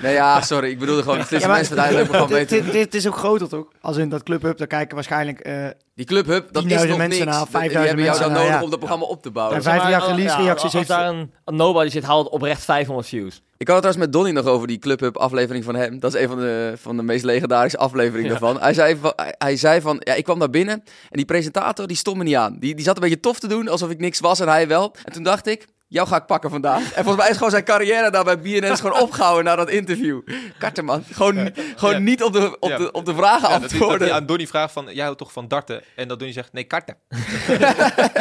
S5: Nee, ja, sorry. Ik bedoelde gewoon, slimste
S3: Ja, maar-
S5: mensen vindt hij een leuk programma.
S3: dit,
S5: Weet je.
S3: dit, dit is ook groter toch? Als in dat Club Hub, daar kijken waarschijnlijk... eh,
S5: Die Club Hub, dat is
S3: 10.000
S5: nog niks.
S3: mensen na,
S5: Dat-
S3: 5.000
S5: Die hebben jou
S3: mensen
S5: dan
S3: na,
S5: nodig
S3: ja.
S5: om dat programma op te bouwen.
S3: Ja, 15 jaar
S4: Maar,
S3: release
S4: ja,
S3: reacties
S4: Als
S3: heeft...
S4: daar een een nobody zit, haalt het oprecht 500 views.
S5: Ik had het trouwens met Donny nog over die Clubhub aflevering van hem. Dat is een van de, van de meest legendarische afleveringen daarvan. Hij zei, van, hij, hij zei van, ja, ik kwam daar binnen en die presentator die stond me niet aan. Die, die zat een beetje tof te doen, alsof ik niks was en hij wel. En toen dacht ik, jou ga ik pakken vandaag. En volgens mij is gewoon zijn carrière daar bij BNN is gewoon opgehouden na dat interview. Karteman, gewoon, gewoon
S1: Ja.
S5: niet op de, op
S1: Ja.
S5: de, op de
S1: Ja,
S5: vragen
S1: dat, hij- dat
S5: antwoorden.
S1: hij aan Donny vraagt van, jij houdt toch van darten? En dat Donny zegt, nee, karten.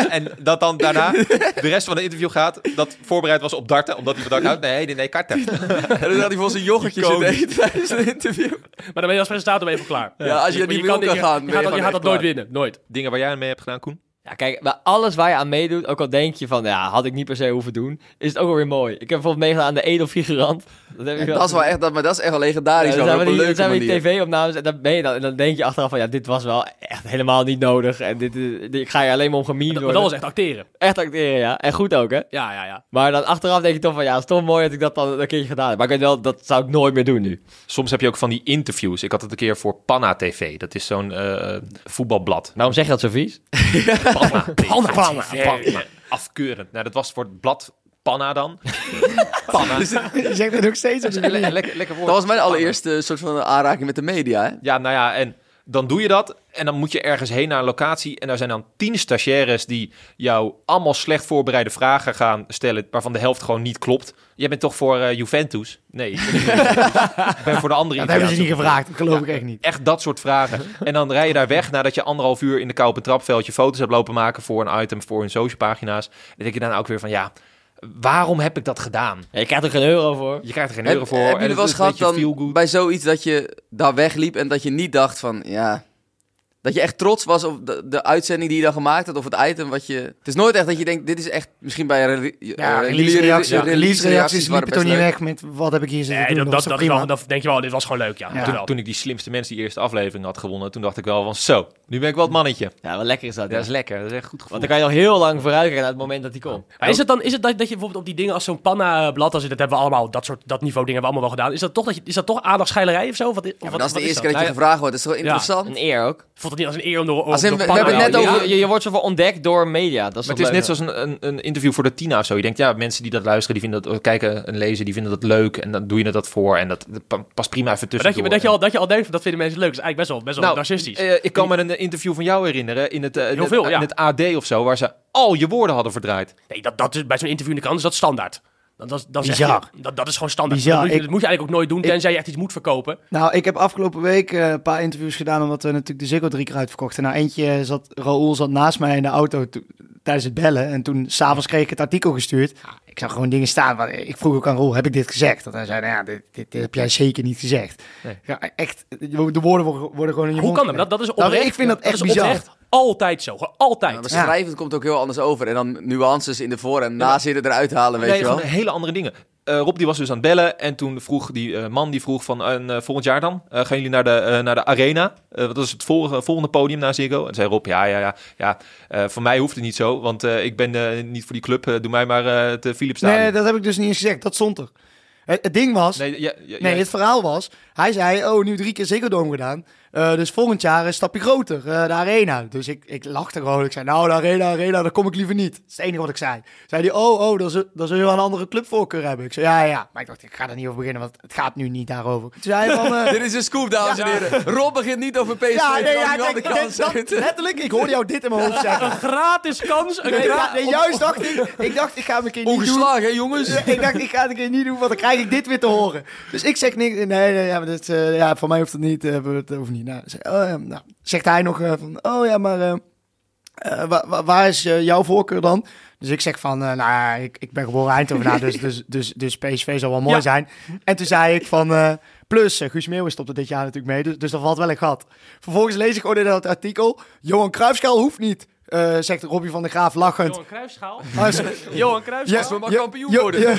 S1: en dat dan daarna de rest van het interview gaat, dat voorbereid was op darten, omdat hij van darten houdt. Nee, nee, nee, karten.
S5: En dan had hij voor zijn yoghurtje
S1: Icoon.
S5: zitten eten tijdens een interview.
S2: Maar dan ben je als presentator even klaar.
S5: Ja, als je
S2: Want
S5: niet meer op kan
S2: je-
S5: gaan,
S2: Je
S5: ben je
S2: gaat, dat- je
S5: gewoon
S2: gaat
S5: echt
S2: dat nooit
S5: klaar.
S2: winnen, nooit.
S1: Dingen waar jij aan mee hebt gedaan, Koen?
S4: Ja, kijk, bij alles waar je aan meedoet, ook al denk je van, ja, had ik niet per se hoeven doen, is het ook wel weer mooi. Ik heb bijvoorbeeld meegedaan aan de edelfigurant. Dat, heb ik
S5: Dat is wel echt, dat, maar dat is echt wel legendarisch.
S4: Ja,
S5: hoor,
S4: dan zijn
S5: op
S4: we
S5: een
S4: die, dan zijn
S5: leuke
S4: we die
S5: manier.
S4: tv-opnames en dan ben je dan. En dan denk je achteraf van, ja, dit was wel echt helemaal niet nodig. En dit, eh, dit- ik ga je alleen maar om gemien
S2: Maar
S4: worden.
S2: dat was echt acteren.
S4: echt acteren, ja. En goed ook, hè.
S2: Ja, ja, ja.
S4: Maar dan achteraf denk je toch van, ja, het is toch mooi dat ik dat dan een keertje gedaan heb. Maar ik weet wel, dat zou ik nooit meer doen nu.
S1: Soms heb je ook van die interviews. Ik had het een keer voor Panna TV. Dat is zo'n eh, voetbalblad.
S4: Waarom zeg je dat zo vies?
S1: Panna
S2: Panna, Panna,
S1: Panna. Afkeurend. Nou, dat was voor het blad Panna dan. Panna.
S3: Je zegt het ook steeds. op die manier.
S1: lekker, lekker
S5: Dat was mijn allereerste soort van aanraking met de media. Hè?
S1: Ja, nou ja, en dan doe je dat. En dan moet je ergens heen naar een locatie. En daar zijn dan tien stagiaires die jou allemaal slecht voorbereide vragen gaan stellen. waarvan de helft gewoon niet klopt. Jij bent toch voor eh, Juventus? Nee. ik ben niet voor Juventus. Ik ben voor de andere
S3: Dat hebben ze
S1: Italiaanse
S3: niet gevraagd, dat geloof ik echt niet.
S1: Echt dat soort vragen. En dan rij je daar weg nadat je anderhalf uur in de kou op een trapveldje foto's hebt lopen maken voor een item voor hun socialpagina's. En dan denk je dan ook weer van ja, waarom heb ik dat gedaan?
S4: Ja, je krijgt er geen euro voor.
S1: Je krijgt er geen
S5: Heb,
S1: euro voor.
S5: heb je
S1: en
S5: er
S1: het
S5: wel eens
S1: is een
S5: gehad
S1: beetje feel
S5: dan
S1: good.
S5: bij zoiets dat je daar wegliep en dat je niet dacht van, ja... Dat je echt trots was op de, de uitzending die je dan gemaakt had of het item wat je... Het is nooit echt dat je denkt, dit is echt misschien bij een re-
S3: Ja,
S5: eh,
S3: release reacties,
S5: re-
S3: release reacties
S5: waren
S3: liepen toen niet
S5: best leuk.
S3: weg met wat heb ik hier zitten
S2: Nee,
S3: doen.
S2: dat, dat,
S3: was
S2: dat,
S3: toch prima.
S2: wel- dat denk je wel, dit was gewoon leuk, ja.
S3: Ja.
S2: Toen wel.
S1: Toen ik die slimste mensen die eerste aflevering had gewonnen, toen dacht ik wel van zo, nu ben ik wel het mannetje.
S4: Ja, wel lekker is dat.
S1: Dat
S4: ja.
S1: is lekker, dat is echt goed gevoel.
S4: Want dan kan je al heel lang vooruit kijken naar het moment dat die komt.
S2: Maar is het dan is het dat, dat je bijvoorbeeld op die dingen als zo'n panna-blad, als dat hebben we allemaal, dat soort dat niveau dingen hebben we allemaal wel gedaan. Is dat toch, dat je, is dat toch aandachtsscheilerij of zo? Of Wat, of
S5: Ja, maar
S2: wat,
S5: dat is de
S2: wat
S5: eerste keer dat je
S1: Nou
S5: gevraagd wordt. Dat is toch interessant?
S4: Een eer ook.
S2: Ik vond het niet als een eer om door, om
S5: Als in,
S2: door
S5: we- we
S2: panna-
S5: hebben het net
S2: Ja,
S5: over-
S4: Je, je, je wordt zo van ontdekt door media. Dat is
S1: Maar
S4: toch
S1: het is net
S4: leuk?
S1: zoals een, een, een interview voor de Tina of zo. Je denkt, ja, mensen die dat luisteren, die vinden dat, kijken en lezen, die vinden dat leuk. En dan doe je dat voor. En dat, dat pa- past prima even
S2: Maar dat
S1: tussen.
S2: je, maar dat, je al, dat je al denkt, van, dat vinden mensen leuk, is eigenlijk best wel, best wel
S5: Nou,
S2: narcistisch.
S1: eh, ik kan me een eh, interview van jou herinneren in het, eh, in
S2: Heel
S1: het-
S2: veel, ja.
S1: in het AD of zo, waar ze al je woorden hadden verdraaid.
S2: Nee, dat, dat is, bij zo'n interview in de krant is dat standaard. Dat, dat, dat, zeg
S3: Bizar.
S2: je, dat, dat is gewoon standaard.
S3: Bizar,
S2: Dat, moet je,
S3: ik-
S2: dat moet je eigenlijk ook nooit doen,
S3: ik-
S2: tenzij je echt iets moet verkopen.
S3: Nou, ik heb afgelopen week eh, een paar interviews gedaan, omdat we natuurlijk de Ziggo drie keer uitverkochten. Nou, eentje zat, Raoul zat naast mij in de auto to- tijdens het bellen. En toen, s'avonds kreeg ik het artikel gestuurd. Ja, Ik zag gewoon dingen staan. waar- ik vroeg ook aan Roel, heb ik dit gezegd? Dat hij zei, nou ja, dit, dit, dit heb jij zeker niet gezegd.
S1: Nee.
S3: Ja, echt, de woorden worden worden gewoon in je
S2: Hoe
S3: mond
S2: kan dat?
S3: gelegd.
S2: Dat, dat is
S3: Nou,
S2: oprecht.
S3: ik vind dat echt
S2: is
S3: bizar.
S2: oprecht altijd zo, gewoon altijd.
S5: Ja, maar
S3: Ja.
S5: schrijvend komt ook heel anders over. En dan nuances in de voor- en nazinnen eruit halen, weet
S1: nee,
S5: je wel.
S1: gewoon hele andere dingen. Eh, Rob die was dus aan het bellen en toen vroeg die eh, man die vroeg van en, eh, volgend jaar dan Eh, gaan jullie naar de, eh, naar de arena? Eh, wat is het volgende, volgende podium na Ziggo? En zei Rob ja ja ja ja eh, voor mij hoeft het niet zo want eh, ik ben eh, niet voor die club Eh, doe mij maar eh, het Philips
S3: Nee, dat heb ik dus niet eens gezegd. Dat stond er. Het, het ding was...
S1: nee, ja, ja,
S3: Nee,
S1: ja.
S3: het verhaal was, hij zei, oh, nu drie keer Ziggo Dome gedaan. Eh, dus volgend jaar een stapje groter, eh, de arena. Dus ik, ik lachte gewoon. Ik zei, nou, de arena, arena, daar kom ik liever niet. Dat is het enige wat ik zei. Zei hij, oh, oh, dan zul, dan zul je wel een andere clubvoorkeur hebben. Ik zei, ja, ja. Maar ik dacht, ik ga er niet over beginnen, want het gaat nu niet daarover. Toen zei hij van... eh,
S5: Dit is een scoop, dames en heren. Rob begint niet over PSV.
S3: ja, nee,
S5: Kan
S3: ja,
S5: nu al
S3: kijk,
S5: de
S3: dit-
S5: kans
S3: dat-
S5: uit.
S3: letterlijk, ik hoorde jou dit in mijn hoofd zeggen.
S2: Een gratis kans. Een
S3: Nee,
S2: gra-
S3: ja, nee, juist dacht ik, ik dacht, ik ga hem een keer niet doen.
S5: Ongeslagen, hè, jongens?
S3: Dus ik dacht, ik ga het een keer niet doen, want dan krijg ik dit weer te horen. Dus ik zeg niks. Nee, nee ja, maar dit, eh, ja, voor mij hoeft het niet. eh, dat hoeft niet. Nou, zeg- oh, ja, nou, zegt hij nog eh, van, oh ja, maar eh, eh, wa- wa- waar is eh, jouw voorkeur dan? Dus ik zeg van, eh, nou ja, ik, ik ben geboren Eindhovenaar, dus, dus, dus, dus PSV zal wel mooi
S2: Ja.
S3: zijn. En toen zei ik van, eh, plus, eh, Guus Meeuwis stopt er dit jaar natuurlijk mee, dus, dus dat valt wel een gat. Vervolgens lees ik gewoon in dat artikel, Johan Cruijffschaal hoeft niet, eh, zegt Robbie van der Graaf lachend.
S2: Johan Cruijffschaal.
S3: Ah, sorry.
S2: Johan
S3: Ja,
S2: Cruijffschaal.
S5: Als we maar
S3: ja,
S5: kampioen
S3: ja,
S5: worden.
S3: ja.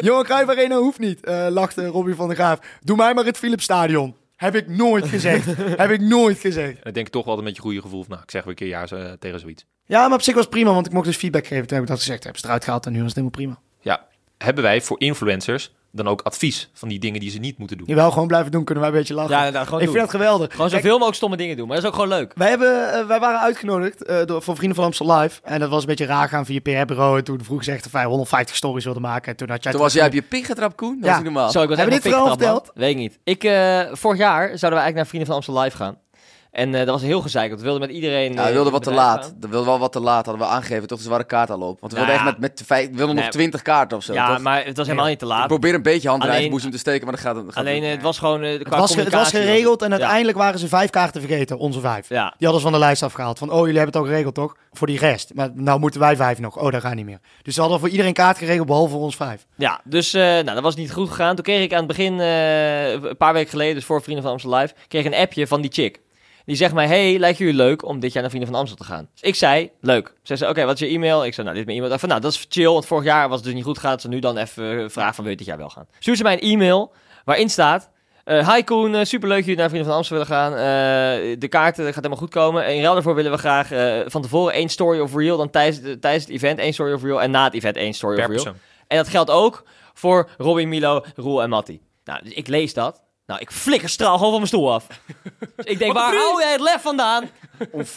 S3: Johan Cruijff Arena hoeft niet, eh, lachte Robbie van der Graaf. Doe mij maar het Philipsstadion. Heb ik nooit gezegd. Heb ik nooit gezegd.
S1: En ik denk toch wel met je goede gevoel van, nou, ik zeg weer een keer ja eh, tegen zoiets.
S3: Ja, maar op zich was het prima, want ik mocht dus feedback geven. Toen heb ik dat gezegd. Hebben ze het eruit gehaald en nu was het helemaal prima.
S1: Ja, hebben wij voor influencers dan ook advies van die dingen die ze niet moeten doen.
S3: Jawel, gewoon blijven doen, kunnen wij een beetje lachen.
S4: Ja, nou, gewoon
S3: ik vind
S4: doen.
S3: dat geweldig.
S4: Gewoon
S3: Kijk,
S4: zoveel mogelijk stomme dingen doen, maar dat is ook gewoon leuk.
S3: Wij, hebben, eh, wij waren uitgenodigd eh, door, voor Vrienden van Amstel Live. En dat was een beetje raar gaan via PR-bureau. En toen vroeg ze echt of wij 150 stories wilden maken. En toen had jij...
S5: Toen was jij op je pik getrapt, Koen. Dat
S3: Ja.
S5: is niet normaal.
S4: Zo, ik was
S3: Hebben
S4: echt
S3: we dit
S4: nog
S3: verhaal
S4: pik getrapt, man. Weet ik niet. Ik, eh, vorig jaar zouden we eigenlijk naar Vrienden van Amstel Live gaan. En eh, dat was heel gezeik, want we wilden met iedereen...
S5: Ja, we
S4: eh,
S5: wilden Nou, wat te
S4: bedrijf
S5: laat.
S4: gaan.
S5: We wilden wel wat te laat, hadden we aangegeven. Toch, dus we waren kaart al op. Want we
S4: Nou
S5: wilden echt
S4: ja.
S5: met, met vijf, we wilden nog
S4: Nee.
S5: twintig kaarten of zo.
S4: Ja,
S5: toch?
S4: maar het was helemaal niet te
S5: Ik
S4: laat.
S5: probeer een beetje hand in
S4: Alleen-
S5: eigen boezem te steken, maar dat gaat... Dat gaat
S4: Alleen eh, het was gewoon... eh,
S3: het,
S4: qua
S3: was, ge- het was
S4: communicatie-
S3: geregeld en
S4: Ja.
S3: uiteindelijk waren ze vijf kaarten vergeten. Onze vijf.
S4: Ja.
S3: Die hadden ze van de lijst afgehaald. Van, oh, jullie hebben het al geregeld, toch? Voor die rest. Maar nou moeten wij vijf nog. Oh, dat gaat niet meer. Dus ze hadden voor iedereen kaart geregeld, behalve voor ons vijf.
S4: Ja, dus eh, nou, dat was niet goed gegaan. Toen kreeg ik aan het begin, eh, een paar weken geleden, dus voor Vrienden van Amstel Live, kreeg ik een appje van die chick. Die zegt mij, hey, lijkt jullie leuk om dit jaar naar Vrienden van Amstel te gaan? Dus ik zei, leuk. Zij zei, oké, wat is je e-mail? Ik zei, nou, dit is mijn e-mail. Ik dacht van, nou, dat is chill, want vorig jaar was het dus niet goed gegaan. Ze nu dan even eh, vragen van, wil je dit jaar wel gaan? Stuur ze mij een e-mail waarin staat... eh, Hi Koen, eh, superleuk dat jullie naar Vrienden van Amstel willen gaan. Eh, de kaarten gaat helemaal goed komen. In ruil daarvoor willen we graag eh, van tevoren één story of reel. Dan tijdens, tijdens het event één story of reel. En na het event één story
S1: Per
S4: of reel.
S1: persoon.
S4: En dat geldt ook voor Robin, Milo, Roel en Matti. Nou, dus ik lees dat. Nou, ik flikker straal gewoon van mijn stoel af. Dus ik denk, waar hou jij het lef vandaan?
S5: om 50.000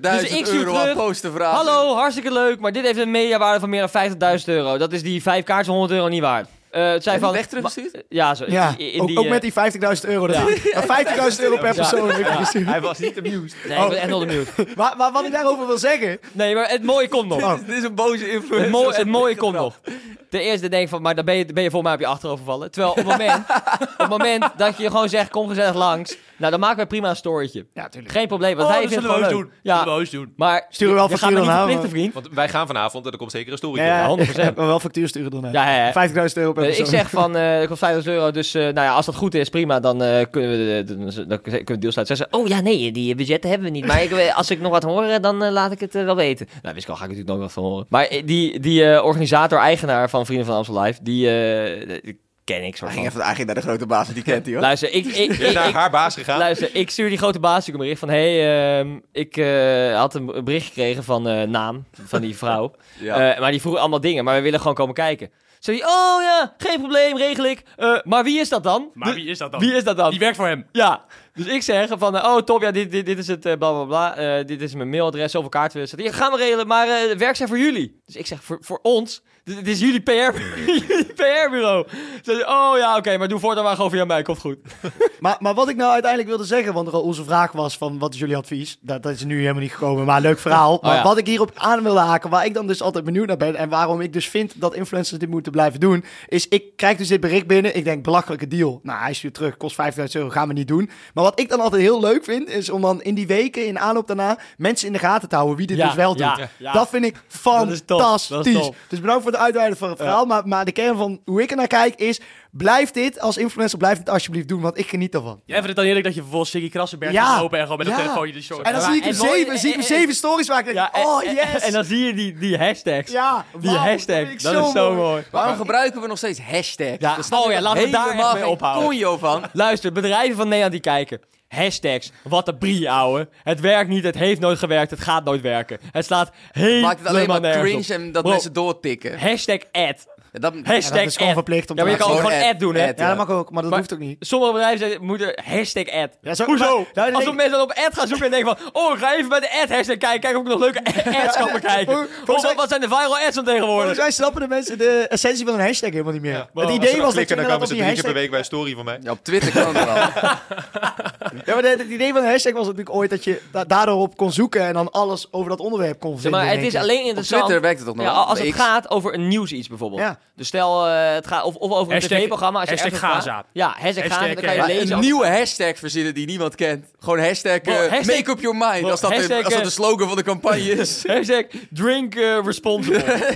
S4: Dus ik stuur
S5: euro
S4: terug.
S5: aan posten vragen.
S4: Hallo, hartstikke leuk, maar dit heeft een mediawaarde van meer dan 50.000 euro. Dat is die vijf kaartjes van 100 euro niet waard. Eh het zijn
S5: Heb je
S4: van...
S5: weg teruggestuurd?
S4: Ma- Ja, zo.
S3: Ja,
S4: in- in
S3: ook,
S4: die,
S3: ook
S4: eh,
S3: met die 50.000 euro. Dat Maar 50.000 euro per persoon. heb ik gestuurd.
S1: Hij was niet amused.
S4: Nee, ik ben echt onder mute.
S3: Maar, maar wat ik daarover wil zeggen...
S4: Nee, maar het mooie komt nog.
S3: Oh.
S5: Dit is een boze influencer.
S4: Het, mooie,
S5: Dat is
S4: het
S5: een
S4: mooie
S5: dikke
S4: komt
S5: grap.
S4: nog. Ten eerste denk ik van, maar dan ben je, ben je voor mij op je achterover vallen. Terwijl op het moment, op het moment dat je gewoon zegt, kom gezellig langs. Nou, dan maken wij prima een storytje.
S3: Ja, natuurlijk.
S4: Geen probleem, want hij
S2: dat
S4: vindt het
S2: zullen Oh, we
S4: gewoon
S2: heus
S4: leuk.
S2: doen. Ja.
S4: Ja,
S2: Zullen we heus doen.
S4: maar
S3: Sturen we wel
S4: je gaat
S3: factuur
S4: me niet
S3: dan aan,
S4: verplichten, vriend.
S1: Want wij gaan vanavond en er komt zeker een story.
S3: Ja,
S1: door.
S3: ja,
S4: 100%.
S3: Maar wel factuur sturen dan. hè.
S4: Ja, ja, ja.
S3: 50.000 euro per
S4: Eh,
S3: persoon.
S4: ik zeg van, eh ik wil 5000 euro, dus eh, nou ja, als dat goed is, prima, dan eh, kunnen we de, de- dan kunnen we de deal sluiten. Zij zei, oh ja, nee, die budgetten hebben we niet, maar ik, eh, als ik nog wat hoor, eh, dan eh, laat ik het eh, wel weten. Nou, wist ik al, ga ik natuurlijk nooit wat van horen. Maar eh, die, die eh, organisator, eigenaar van Vrienden van Amstel Live, die, eh, die ken ik soort
S5: Hij ging
S4: van.
S5: even hij ging naar de grote baas, want die kent hij hoor.
S4: Luister, ik, ik,
S1: Je bent
S4: ik,
S1: naar
S4: ik-
S1: haar baas gegaan.
S4: Luister, ik stuur die grote baas natuurlijk een bericht van... hé, hey, ehm, ik eh, had een bericht gekregen van eh, naam van die vrouw.
S5: Ja.
S4: Eh, maar die vroeg allemaal dingen, maar we willen gewoon komen kijken. Zei die, oh ja, geen probleem, regel ik. Eh, maar wie is dat dan?
S2: Maar wie is dat dan?
S4: Wie is dat dan?
S2: Die werkt voor hem.
S4: Ja, dus ik zeg van, eh, oh top, ja, dit, dit, dit is het, eh, bla bla bla, Eh, dit is mijn mailadres, zoveel kaarten willen zetten. Ja, gaan we regelen, maar eh, het werk zijn voor jullie. Dus ik zeg, voor, voor ons? Dit, dit is jullie PR, jullie PR-bureau. Ze zeggen, oh ja, oké, maar doe voortaan maar gewoon via mij, komt goed.
S3: Maar, maar wat ik nou uiteindelijk wilde zeggen, want Raoul, onze vraag was van wat is jullie advies? Dat, dat is nu helemaal niet gekomen, maar leuk verhaal. maar
S4: Oh, ja.
S3: wat ik hierop aan wilde haken, waar ik dan dus altijd benieuwd naar ben en waarom ik dus vind dat influencers dit moeten blijven doen, is ik krijg dus dit bericht binnen, ik denk belachelijke deal. Nou, hij stuurt terug, kost 5000 euro, gaan we niet doen. Maar wat ik dan altijd heel leuk vind, is om dan in die weken, in aanloop daarna, mensen in de gaten te houden wie dit
S4: Ja,
S3: dus wel doet.
S4: ja, ja.
S3: Dat vind ik
S4: is top, dat is
S3: fantastisch.
S4: top.
S3: Dus bedankt voor het uitweiden van het verhaal. Maar, maar de kern van hoe ik er naar kijk is, blijf dit als influencer, blijf dit alsjeblieft doen, want ik geniet ervan.
S2: Jij vindt het dan eerlijk dat je vervolgens Siggy Krassenberg
S3: Ja.
S2: gaat lopen en gewoon met een
S3: Ja.
S2: telefoon die short.
S3: En dan
S4: Ja,
S3: zie ik
S4: en
S3: hem
S4: mooi-
S3: zeven, zie ik hem
S4: en-
S3: zeven stories waar ik denk,
S4: en-
S3: oh
S4: en-
S3: yes.
S4: En dan zie je die, die hashtags.
S3: ja,
S4: Die
S3: wauw,
S4: hashtag,
S3: vind ik
S4: dat is zo mooi.
S5: Waarom gebruiken we nog steeds hashtags?
S4: Ja,
S5: Er staat
S4: oh ja, laten we daar
S5: helemaal
S4: echt mee
S5: geen
S4: ophouden.
S5: conjo van.
S4: Luister, bedrijven van Nederland die kijken. Hashtags, wat een brie, ouwe. Het werkt niet, het heeft nooit gewerkt, het gaat nooit werken. Het slaat helemaal
S5: Maakt het alleen maar
S4: nergens
S5: cringe
S4: op.
S5: en dat
S4: Bro,
S5: mensen doortikken.
S4: Hashtag ad.
S5: Ja, dat-
S4: Hashtag
S3: dat is gewoon
S4: ad.
S3: verplicht om
S4: Ja,
S3: te
S4: maar je kan
S5: maken.
S4: ook gewoon
S5: Gewoon
S4: ad,
S5: ad,
S4: doen, hè.
S5: ad.
S3: Ja, dat mag ook, maar dat
S4: Maar-
S3: hoeft ook niet.
S4: Sommige bedrijven zeggen, moeten hashtag ad.
S3: Ja, zo-
S4: Hoezo?
S3: maar- nou, dat
S4: Oh. Als
S3: denk-
S4: mensen dan op ad gaan zoeken en denken van... Oh, ik ga even bij de ad hashtag kijken. Kijk of ik nog leuke ads kan bekijken.
S3: Hoe-
S4: Hoe-
S3: hoe-
S4: wat- wat zijn de viral ads van tegenwoordig?
S3: Volgens mij snappen de mensen de essentie van een hashtag helemaal niet meer. het
S1: Als ze
S3: idee
S1: dan
S3: was dat je
S1: klikken, dan komen
S3: inderdaad op
S1: ze
S3: die
S1: drie keer per
S3: hashtag...
S1: week bij een story van mij.
S5: Ja, op Twitter kan het wel.
S3: Ja, maar de- het idee van een hashtag was natuurlijk ooit dat je da- daardoor op kon zoeken en dan alles over dat onderwerp kon
S4: Zeg
S3: vinden.
S4: maar het
S3: denk
S4: is
S3: ik.
S4: alleen
S5: Op
S4: interessant...
S5: Twitter werkt het toch nog
S4: Ja,
S5: wel?
S4: als het
S5: Bij X.
S4: gaat over een nieuws iets bijvoorbeeld.
S3: Ja.
S4: Dus stel, eh, het gaat, of, of over een
S2: Hashtag-
S4: tv-programma. Als je
S2: hashtag
S4: ergens
S2: Gaza.
S4: gaat- Ja, hashtag
S2: Hashtag,
S4: Gaza. Dan kan je
S2: eh,
S5: Maar
S4: lezen.
S5: een
S4: over-
S5: nieuwe hashtag verzinnen die niemand kent. Gewoon hashtag, eh,
S4: Bro, hashtag-
S5: make up your mind.
S4: Bro,
S5: als, dat
S4: hashtag,
S5: de, als dat de
S4: eh,
S5: slogan van de campagne is.
S4: Hashtag drink eh, responsible.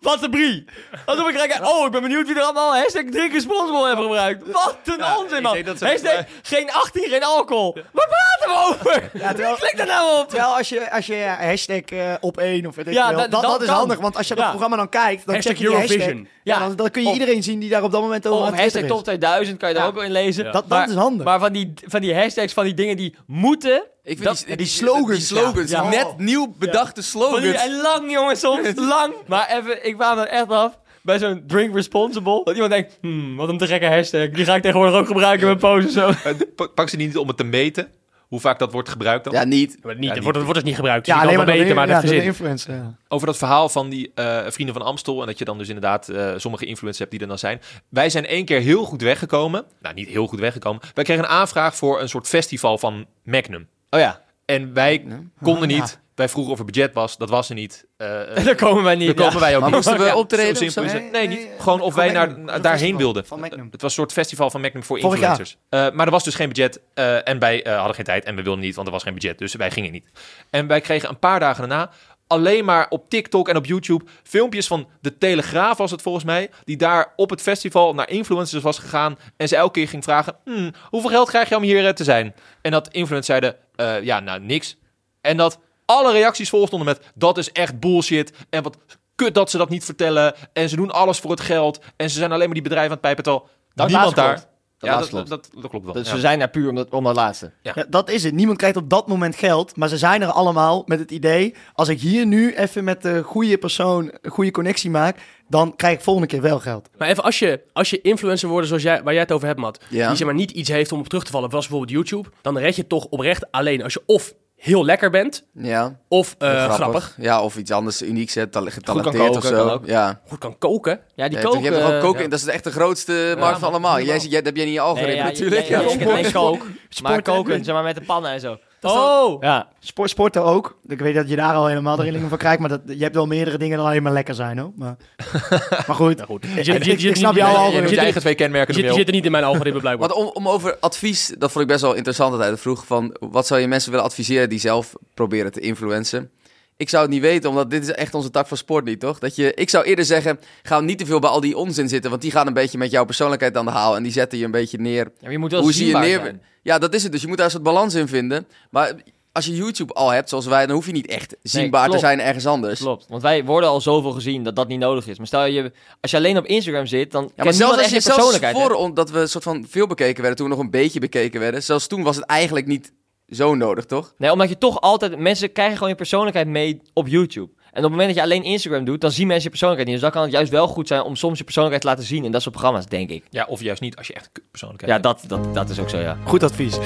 S4: Wat een brie. Alsof ik krijg, oh, ik ben benieuwd wie er allemaal hashtag drink responsible hebben gebruikt. Wat een onzin, man.
S1: denk dat ze-
S4: Hashtag geen 18, geen alcohol. Waar praten we over?
S3: terwijl-
S4: Wie klikt daar nou op?
S3: Terwijl als je, als je ja, hashtag eh, op één of weet ik
S4: Ja,
S3: veel,
S4: dat-
S3: dat, dat
S4: dat
S3: is
S4: kan.
S3: handig. Want als je dat
S4: Ja.
S3: programma dan kijkt, dan
S2: Hashtag
S3: check je die hashtag.
S2: Eurovision.
S3: Ja,
S4: Ja.
S3: dan, dan kun je
S4: Of-
S3: iedereen zien die daar op dat moment over
S4: Of
S3: aan het
S4: hashtag top
S3: twitteren
S4: 2000 kan je daar
S3: Ja.
S4: ook wel in lezen.
S3: is. Dat, dat
S4: Maar-
S3: is handig.
S4: Maar van die, van die hashtags, van die dingen die moeten.
S5: Ik vind
S4: dat-
S5: die,
S3: die slogans,
S5: Die slogans.
S4: ja. Ja.
S5: Net nieuw bedachte
S4: Van die,
S5: slogans.
S4: en lang, jongens, soms lang. Maar even, ik kwam er echt af. bij zo'n drink responsible. Dat iemand denkt, hmm, wat een te gekke hashtag. Die ga ik tegenwoordig ook gebruiken met poses. Zo.
S1: Eh, pa- Pak ze die niet om het te meten? Hoe vaak dat wordt gebruikt dan?
S5: Ja, niet.
S2: Maar niet,
S1: Ja,
S2: het
S1: niet.
S2: wordt, het wordt dus niet gebruikt. Dus
S3: Ja,
S2: je
S3: alleen
S2: kan
S3: maar
S2: wel weten,
S3: dan,
S2: maar
S3: ja,
S2: dat
S3: dan de
S2: gezin.
S3: influencer. ja.
S1: Over dat verhaal van die eh, vrienden van Amstel. En dat je dan dus inderdaad eh, sommige influencers hebt die er dan zijn. Wij zijn één keer heel goed weggekomen. Nou, niet heel goed weggekomen. Wij kregen een aanvraag voor een soort festival van Magnum.
S4: Oh ja.
S1: En wij konden
S3: Ja.
S1: niet. Wij vroegen of er budget was. Dat was er niet. Eh, eh,
S4: Daar komen wij niet.
S1: daar
S4: ja.
S1: komen wij ook
S5: Maar
S1: niet.
S5: moesten we
S1: Ja,
S5: optreden
S1: zo
S5: of
S1: simpel
S5: zo?
S1: is het. Nee,
S3: Nee,
S1: niet.
S3: nee,
S1: Gewoon of
S3: van
S1: wij
S3: Magnum.
S1: naar,
S3: Een
S1: naar- daarheen
S3: festival
S1: wilden.
S3: van
S1: Eh,
S3: Magnum.
S1: Het was een soort festival van Magnum voor
S3: Vorig jaar.
S1: influencers. Eh, maar er was dus geen budget. eh, en wij eh, hadden geen tijd en we wilden niet, want er was geen budget. Dus wij gingen niet. En wij kregen een paar dagen daarna alleen maar op TikTok en op YouTube filmpjes van De Telegraaf was het volgens mij, die daar op het festival naar influencers was gegaan en ze elke keer ging vragen, "Hmm, hoeveel geld krijg je om hier eh, te zijn? En dat influencers zeiden, "Eh, ja, nou, niks. En dat alle reacties volstonden met, dat is echt bullshit en wat kut dat ze dat niet vertellen en ze doen alles voor het geld en ze zijn alleen maar die bedrijven aan het pijpen, terwijl
S4: Dat
S1: niemand
S4: laatste
S1: daar...
S4: klopt. Dat
S1: ja, dat,
S4: laatste
S1: dat, dat- dat klopt wel.
S4: Dus
S1: ja.
S4: we zijn daar puur om dat, om dat laatste.
S3: Ja, dat is het. Niemand krijgt op dat moment geld, maar ze zijn er allemaal met het idee... als ik hier nu even met de goede persoon een goede connectie maak... dan krijg ik volgende keer wel geld.
S2: Maar even, als je, als je influencer wordt zoals jij, waar jij het over hebt, Matt...
S5: Ja.
S2: die zeg maar niet iets heeft om op terug te vallen, zoals bijvoorbeeld YouTube... dan red je het toch oprecht alleen als je of heel lekker bent...
S5: Ja,
S2: of eh, grappig.
S5: Ja, of iets anders unieks, hè, tale- getalenteerd
S4: koken,
S5: of
S4: kan
S5: zo.
S4: ook.
S5: Ja.
S2: goed kan koken...
S4: Ja, die
S5: Die
S4: koken...
S5: je hebt gewoon koken,
S4: ja.
S5: dat is echt de grootste markt van allemaal. Jij, zit- jij, dat heb jij niet in je algoritme
S4: Nee, ja,
S5: natuurlijk.
S4: ja, ja, ja,
S5: Ja.
S4: ik ken alleen kook. Maar
S3: Sport-
S4: koken, zeg maar met de pannen en zo.
S2: Oh!
S4: Ja.
S3: Sport, sporten ook. Ik weet dat je daar al helemaal de rillingen van krijgt... maar dat, je hebt wel meerdere dingen dan alleen maar lekker zijn, hoor. Maar, maar goed, Ik,
S2: je-
S3: ik-
S2: je-
S3: ik
S2: je-
S3: snap
S2: je-
S3: jou
S2: je-
S3: al.
S1: Je doet
S2: Zit
S1: je
S2: er-
S1: eigen twee kenmerken
S2: Je,
S1: er
S2: je
S1: wel.
S2: zit er niet in mijn algoritme blijkbaar.
S5: Want om, om over advies, dat vond ik best wel interessant dat hij dat vroeg. Van, wat zou je mensen willen adviseren die zelf proberen te influencen? Ik zou het niet weten, omdat dit is echt onze tak van sport niet, toch? Dat je, ik zou eerder zeggen, ga niet te veel bij al die onzin zitten. Want die gaan een beetje met jouw persoonlijkheid aan de haal. En die zetten je een beetje neer.
S4: Ja, maar je moet wel
S5: Hoe zie je
S4: zienbaar
S5: neer?
S4: zijn.
S5: Ja, dat is het. Dus je moet daar een soort balans in vinden. Maar als je YouTube al hebt, zoals wij, dan hoef je niet echt zienbaar te
S4: klopt.
S5: zijn ergens anders.
S4: Klopt, want wij worden al zoveel gezien dat dat niet nodig is. Maar stel je, als je alleen op Instagram zit, dan
S5: Ja, maar zelfs als
S4: echt
S5: je
S4: je
S5: zelfs
S4: persoonlijkheid.
S5: voor
S4: hè?
S5: on- dat we een soort van veel bekeken werden, toen we nog een beetje bekeken werden. Zelfs toen was het eigenlijk niet zo nodig, toch?
S4: Nee, omdat je toch altijd, mensen krijgen gewoon je persoonlijkheid mee op YouTube. En op het moment dat je alleen Instagram doet, dan zien mensen je persoonlijkheid niet. Dus dan kan het juist wel goed zijn om soms je persoonlijkheid te laten zien in dat soort programma's, denk ik.
S1: Ja, of juist niet als je echt een persoonlijkheid
S4: Ja, dat, dat, dat is ook zo, ja.
S3: Goed advies.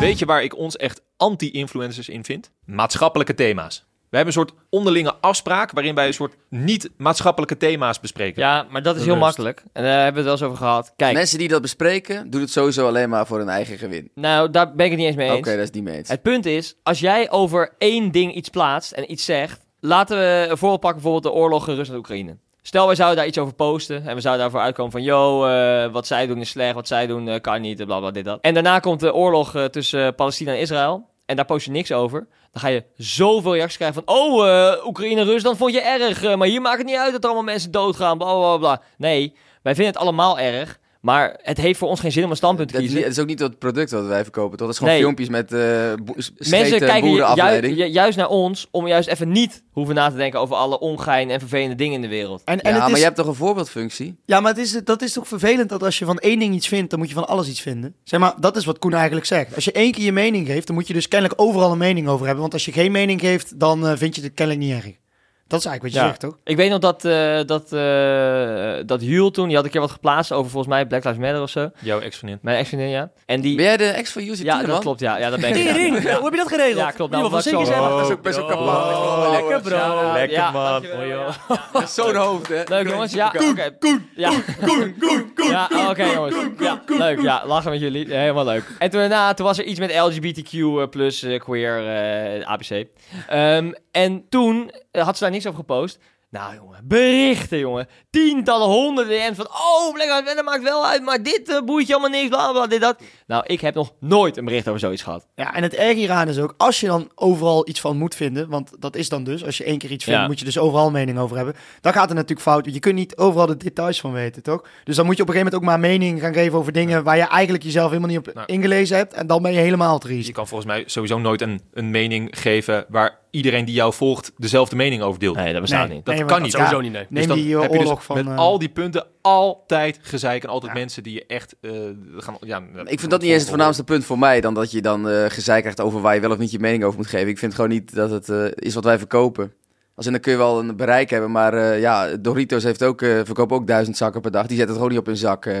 S1: Weet je waar ik ons echt anti-influencers in vind? Maatschappelijke thema's. We hebben een soort onderlinge afspraak waarin wij een soort niet-maatschappelijke thema's bespreken.
S4: Ja, maar dat is heel
S1: Bewust.
S4: makkelijk. En daar hebben we het wel eens over gehad. Kijk,
S5: Mensen die dat bespreken, doen het sowieso alleen maar voor hun eigen gewin.
S4: nou, daar ben ik het niet eens mee
S5: Oké,
S4: eens.
S5: dat is niet mee eens.
S4: Het punt is, als jij over één ding iets plaatst en iets zegt, laten we een voorbeeld pakken, bijvoorbeeld de oorlog in Rusland en Oekraïne. Stel, wij zouden daar iets over posten en we zouden daarvoor uitkomen van, yo, eh, wat zij doen is slecht, wat zij doen eh, kan niet, eh, bla bla dit dat. En daarna komt de oorlog eh, tussen eh, Palestina en Israël en daar post je niks over. Dan ga je zoveel reacties krijgen van, oh, eh, Oekraïne en Rusland vond je erg, eh, maar hier maakt het niet uit dat er allemaal mensen doodgaan, bla bla bla. Nee, wij vinden het allemaal erg, maar het heeft voor ons geen zin om een standpunt te
S5: Dat is,
S4: kiezen.
S5: niet- het is ook niet het product wat wij verkopen, toch? Dat is gewoon
S4: Nee.
S5: filmpjes met eh bo- s-
S4: Mensen
S5: scheten
S4: kijken ju- ju-
S5: boerenafleiding.
S4: ju- juist naar ons om juist even niet hoeven na te denken over alle ongein en vervelende dingen in de wereld.
S3: En, en
S5: ja,
S3: het
S5: maar
S3: is-
S5: je hebt toch een voorbeeldfunctie?
S3: Ja, maar het is, dat is toch vervelend dat als je van één ding iets vindt, dan moet je van alles iets vinden. Zeg maar, dat is wat Koen eigenlijk zegt. Als je één keer je mening geeft, dan moet je dus kennelijk overal een mening over hebben. Want als je geen mening geeft, dan eh, vind je het kennelijk niet erg. Dat is eigenlijk wat je
S4: Ja.
S3: zegt, toch?
S4: Ik weet nog dat, eh dat, eh, dat Huel toen, die had een keer wat geplaatst over volgens mij Black Lives Matter of zo.
S1: Jouw ex-vriendin.
S4: Mijn ex-vriendin, ja. En die...
S5: Ben jij de ex van Jussi
S4: Ja,
S5: Tiedeman?
S4: dat klopt, ja. Ja, dat ben ik. ja.
S2: Tering, hoe heb je dat geregeld?
S4: Ja, klopt. Nou,
S2: Iemand van
S4: omdat ik
S2: Zinken
S4: zo-
S2: zijn.
S5: Dat is ook best wel kapot.
S2: Oh,
S3: Oh,
S2: Lekker bro.
S1: Lekker,
S4: ja,
S1: man.
S4: dankjewel,
S2: Mooi,
S4: ja.
S2: joh.
S5: Zo'n hoofd, hè?
S4: Leuk jongens, ja. Koen, Koen, Koen, Koen, Koen, Ja, oké jongens. ja, leuk, ja. Lachen met jullie. Helemaal leuk. En toen daarna, toen was er iets met LGBTQ eh, plus eh, queer eh, ABC. Ehm, en toen eh, had ze daar niks over gepost. Nou jongen, berichten jongen. Tientallen, honderden DM's van... Oh, Black Lives Matter maakt wel uit, maar dit eh, boeit je allemaal niks, bla bla, dit dat. Nou, ik heb nog nooit een bericht over zoiets gehad.
S3: Ja, en het erg hieraan is ook, als je dan overal iets van moet vinden, want dat is dan dus, als je één keer iets vindt,
S4: Ja.
S3: moet je dus overal een mening over hebben. Dan gaat het natuurlijk fout. want Je kunt niet overal de details van weten, toch? Dus dan moet je op een gegeven moment ook maar mening gaan geven over dingen waar je eigenlijk jezelf helemaal niet op
S1: Nou.
S3: ingelezen hebt. En dan ben je helemaal triest.
S1: Dus Je kan volgens mij sowieso nooit een, een mening geven waar iedereen die jou volgt dezelfde mening over deelt.
S4: Nee, dat bestaat
S3: Nee.
S4: niet.
S1: Dat
S3: maar
S1: kan niet.
S2: Sowieso niet, nee.
S3: Neem
S1: dan
S3: die eh,
S1: heb je dus
S3: oorlog van...
S1: met
S3: eh,
S1: al die punten altijd gezeik en altijd mensen die je echt eh, gaan... Ja,
S5: Ik vind dat niet eens het voornaamste punt voor mij, dan dat je dan eh gezeik krijgt over waar je wel of niet je mening over moet geven. Ik vind gewoon niet dat het eh, is wat wij verkopen. Als in, dan kun je wel een bereik hebben. Maar eh, ja, Doritos heeft ook, eh verkoopt ook duizend zakken per dag. Die zetten het gewoon niet op hun zak. eh,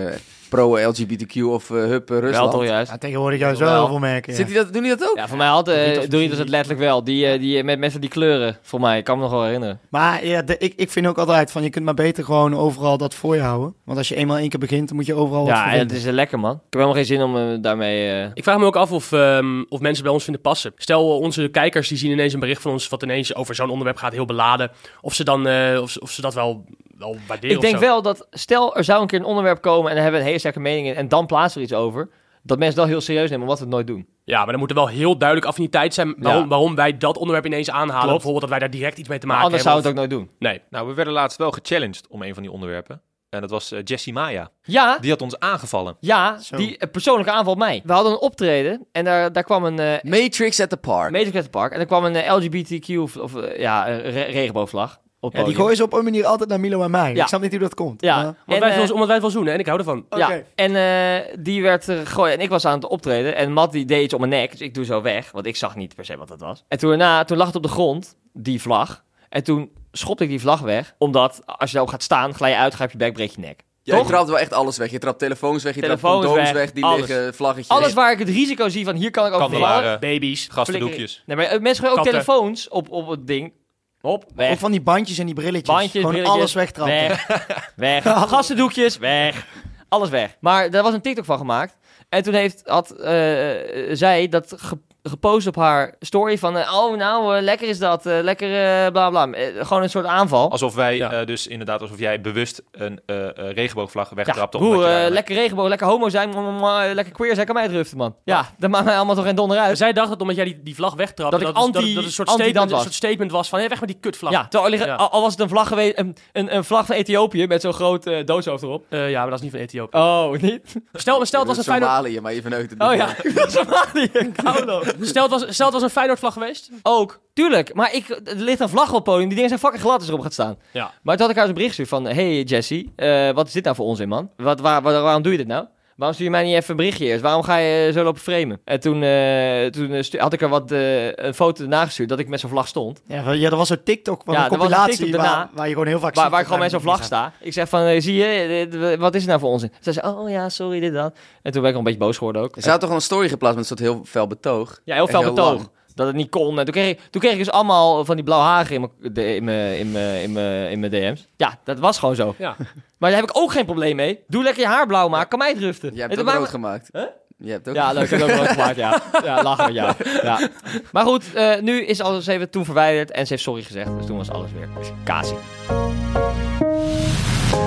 S5: pro LGBTQ of eh, Hup eh,
S4: Wel
S5: Rusland.
S4: toch juist.
S3: Ja, tegenwoordig juist wel
S4: Wel.
S3: heel veel merken. ja.
S5: Zit die dat, doen die dat ook?
S4: Ja, voor mij had eh,
S3: Doritos-
S4: Doritos het letterlijk wel. Die, eh, die, eh, met, met van die kleuren, voor mij. Ik kan me nog wel herinneren.
S3: Maar ja, de- ik, ik vind ook altijd van je kunt maar beter gewoon overal dat voor je houden. Want als je eenmaal één keer begint, dan moet je overal wat
S4: ja,
S3: voor
S4: en het
S3: vinden.
S4: is eh, lekker, man. Ik heb helemaal geen zin om eh, daarmee... eh,
S2: Ik vraag me ook af of, ehm, of mensen bij ons vinden passen. Stel, eh, onze kijkers die zien ineens een bericht van ons... wat ineens over zo'n onderwerp gaat, heel beladen. Of ze, dan, eh, of, ze- of ze dat wel, wel waarderen
S4: Ik denk
S2: of zo.
S4: wel dat, stel er zou een keer een onderwerp komen en daar hebben we een hele sterke mening in en dan plaatsen we iets over, dat mensen dat heel serieus nemen, wat we het nooit doen.
S2: Ja, maar dan moet er wel heel duidelijk affiniteit zijn... waarom,
S4: Ja.
S2: waarom wij dat onderwerp ineens aanhalen.
S4: Klopt.
S2: Bijvoorbeeld dat wij daar direct iets mee te
S4: Maar
S2: maken
S4: anders
S2: hebben.
S4: zouden we het ook nooit doen.
S2: ook... Nee.
S1: Nou, we werden laatst wel gechallenged om een van die onderwerpen. En dat was eh, Jessie Maya.
S4: Ja,
S1: Die had ons aangevallen.
S4: ja,
S3: Zo.
S4: die eh, persoonlijke aanval op mij. We hadden een optreden en daar, daar kwam een eh
S5: Matrix at the Park.
S4: Park en daar kwam een eh, LGBTQ of, of, eh, ja, een re- regenboogvlag
S1: Oh,
S4: op
S3: Ja, die
S4: podium.
S3: gooien ze op een manier altijd naar Milo en mij.
S4: Ja.
S3: Ik snap niet hoe dat komt.
S4: Ja.
S3: maar-
S2: Omdat,
S4: En,
S2: wij het
S4: eh,
S2: wel eens- omdat wij het wel zoenen en ik hou ervan.
S3: Oké.
S4: Ja, en eh, die werd er gegooid. En ik was aan het optreden. En Matt die deed iets om mijn nek. Dus ik doe zo weg. Want ik zag niet per se wat dat was. En toen, daarna, toen lag het op de grond, die vlag. En toen schopte ik die vlag weg. Omdat als je daarop gaat staan, glij je uit, grijp je bek, breek je nek.
S5: Ja, je
S4: Toch?
S5: trapt wel echt alles weg. Je trapt telefoons weg, je
S4: Telefoons
S5: trapt condooms
S4: weg,
S5: weg, die
S4: alles.
S5: liggen, vlaggetjes.
S4: Alles waar ik het risico zie van hier kan ik over vallen.
S1: Kandelaren,
S2: Baby's.
S1: gastendoekjes.
S4: Nee, maar eh, mensen gooien ook
S2: Katten.
S4: telefoons op, op het ding. Hop, weg.
S3: Ook van die bandjes en die brilletjes.
S4: Bandjes,
S3: Gewoon
S4: brilletjes,
S3: alles wegtrappen.
S4: Weg, weg. Gastendoekjes, weg. Alles weg. Maar daar was een TikTok van gemaakt. En toen heeft, had eh, eh, zij dat ge- gepost op haar story van... eh, oh, nou, eh, lekker is dat. eh, lekker eh, bla bla. Eh, gewoon een soort aanval.
S1: Alsof wij
S2: Ja.
S1: eh, dus inderdaad, alsof jij bewust een eh, eh, regenboogvlag
S4: ja,
S1: wegtrapte. omdat
S4: broer,
S1: je
S4: eh,
S1: daar-
S4: lekker regenboog, lekker homo zijn, mwah, mwah, mwah, eh, lekker queer zijn, kan mij het ruften, man. Ja, dat maakt mij allemaal toch geen donder uit.
S2: Zij dacht dat omdat jij die, die vlag wegtrapte...
S4: Dat ik
S2: het-
S4: anti-
S2: het een soort
S4: anti dat
S2: statement, een
S4: was.
S2: soort statement was van... hé, weg met die kutvlag.
S4: Ja, terwijl er liggen-
S2: Ja.
S4: Al, al was het een vlag geweest, een, een, een vlag van Ethiopië met zo'n groot eh, dooshoofd erop.
S2: Eh, ja, maar dat is niet van Ethiopië.
S4: Oh, niet?
S2: Stel, stel, het was een Feyenoord,
S5: Somalië, maar je verneukt het
S4: Oh
S5: niet.
S4: ja, Somalië, Kaulo.
S2: stel, het was, stel, het was een Feyenoord vlag geweest.
S4: Ook, tuurlijk. Maar ik, er ligt een vlag op het podium. Die dingen zijn fucking glad als erop gaat staan.
S2: Ja.
S4: Maar toen had ik haar zo'n bericht gestuurd van... Hey Jesse, eh, wat is dit nou voor onzin, man? Wat, waar, waar- waarom doe je dit nou? Waarom stuur je mij niet even een berichtje eerst? Waarom ga je eh, zo lopen framen? En toen, eh, toen eh, stu- had ik er wat, eh, een foto nagestuurd dat ik met zo'n vlag stond.
S3: Ja, van- ja, dat was zo'n TikTok van
S4: Ja,
S3: een
S4: dat was een
S3: compilatie
S4: TikTok
S3: waar,
S4: daarna.
S3: waar je gewoon heel vaak
S4: Waar,
S3: ziet
S4: waar ik
S3: dat
S4: gewoon met zo'n
S3: mensen
S4: vlag sta. Ik zeg van, eh, zie je, eh, wat is het nou voor onzin? Zij zei, oh ja, sorry, dit dan. En toen ben ik al een beetje boos geworden ook.
S5: Ze had toch een story geplaatst met een soort heel fel betoog.
S4: Ja, heel
S5: Echt
S4: veel
S5: heel
S4: betoog.
S5: lang.
S4: Dat het niet kon. En toen kreeg, ik, toen kreeg ik dus allemaal van die blauwhagen in mijn- de- in mijn- in mijn- in mijn in mijn DM's. Ja, dat was gewoon zo.
S2: Ja.
S4: Maar daar heb ik ook geen probleem mee. Doe lekker je haar blauw maken. Kan mij het ruften.
S5: Jij hebt
S4: Het
S5: het ook
S4: maakt
S5: rood
S4: me-
S5: gemaakt. Je hebt ook...
S4: Ja, leuk. Ik heb het ook rood gemaakt, ja. Ja, lachen met jou. Ja. Maar goed, eh, nu is alles even toen verwijderd. En ze heeft sorry gezegd. Dus toen was alles weer. Kasi.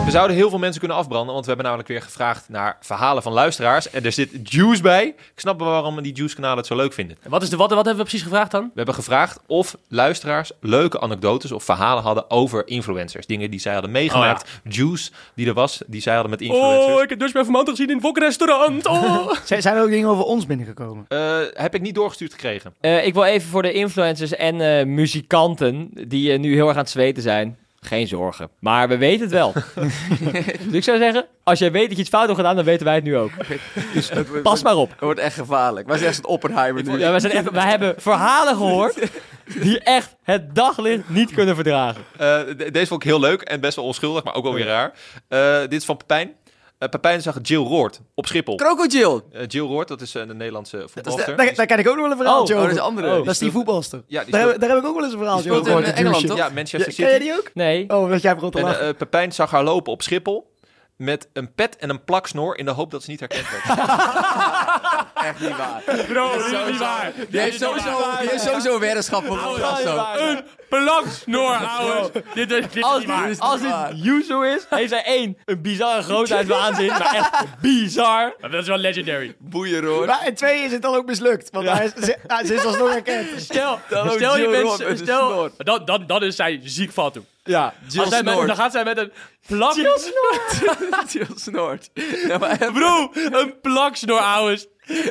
S1: We zouden heel veel mensen kunnen afbranden, want we hebben namelijk weer gevraagd naar verhalen van luisteraars. En er zit juice bij. Ik snap wel waarom die juice-kanalen het zo leuk vinden.
S2: En Wat, is de, wat, wat hebben we precies gevraagd dan?
S1: We hebben gevraagd of luisteraars leuke anekdotes of verhalen hadden over influencers. Dingen die zij hadden meegemaakt. Juice die er was, die zij hadden met influencers.
S2: Oh, ik heb dus mijn vermant gezien in het wokrestaurant. Oh.
S3: gaan. Zijn- Zijn er ook dingen over ons binnengekomen?
S1: Eh, heb ik niet doorgestuurd gekregen.
S4: Eh, ik wil even voor de influencers en eh, muzikanten die eh, nu heel erg aan het zweten zijn. Geen zorgen. Maar we weten het wel. dus ik zou zeggen, als jij weet dat je iets fout hebt gedaan, dan weten wij het nu ook.
S5: Het
S4: Pas maar op.
S5: wordt- Het wordt echt gevaarlijk. Maar ze is echt een Oppenheimer nu.
S4: Ja, wij, zijn echt, wij hebben verhalen gehoord die echt het daglicht niet kunnen verdragen.
S1: Eh, de- deze vond ik heel leuk en best wel onschuldig, maar ook wel weer raar. Eh, dit is van Pepijn. Eh, Pepijn zag Jill Roord op Schiphol.
S5: Crocodile!
S1: Eh, Jill Roord, dat is eh, een Nederlandse
S5: is de-
S1: voetbalster.
S3: Daar, daar kan ik ook nog wel een
S5: Oh,
S3: verhaaltje
S5: dat
S3: over.
S5: is een andere.
S3: dat is die voetbalster.
S1: Ja, die
S3: daar,
S1: speelt-
S3: heb, daar heb ik ook wel eens een verhaaltje
S5: speelt
S3: over gehoord.
S5: in,
S3: de
S5: eh, Engeland,
S3: douche.
S5: toch?
S1: Ja, Manchester
S3: Ja, ken jij
S1: City.
S3: die ook?
S4: Nee.
S3: Oh, dat jij hebt rond te
S1: En
S3: lachen.
S1: eh Pepijn zag haar lopen op Schiphol met een pet en een plaksnor in de hoop dat ze niet herkend werd.
S5: Echt niet waar.
S2: Bro, dit is niet waar.
S5: Die heeft sowieso, die heeft sowieso weddenschap voor ons gast ook.
S2: Een plaksnoor, ouwens. Dit is, dit is
S4: Als
S2: niet waar.
S4: dit, als dit Yuzu is, heeft hij één, een bizarre grootheid van aanzien. Maar echt bizar.
S2: Maar Dat is wel legendary.
S5: Boeien, hoor.
S3: Maar in twee is het dan ook mislukt. Want hij is, ze, hij- ze is alsnog herkend.
S2: Stel,
S5: ook
S2: stel je
S5: Jill Roth met
S2: mensen...
S5: een
S2: Stel,
S5: snor.
S2: dan, dan, dan is zij ziek van toe.
S5: Ja, Jill
S2: Als zij met, dan
S5: Snoort.
S2: gaat zij met een plak...
S5: Jill Snoort. Ja, maar echt,
S2: Bro, een plaksnoor, ouwens.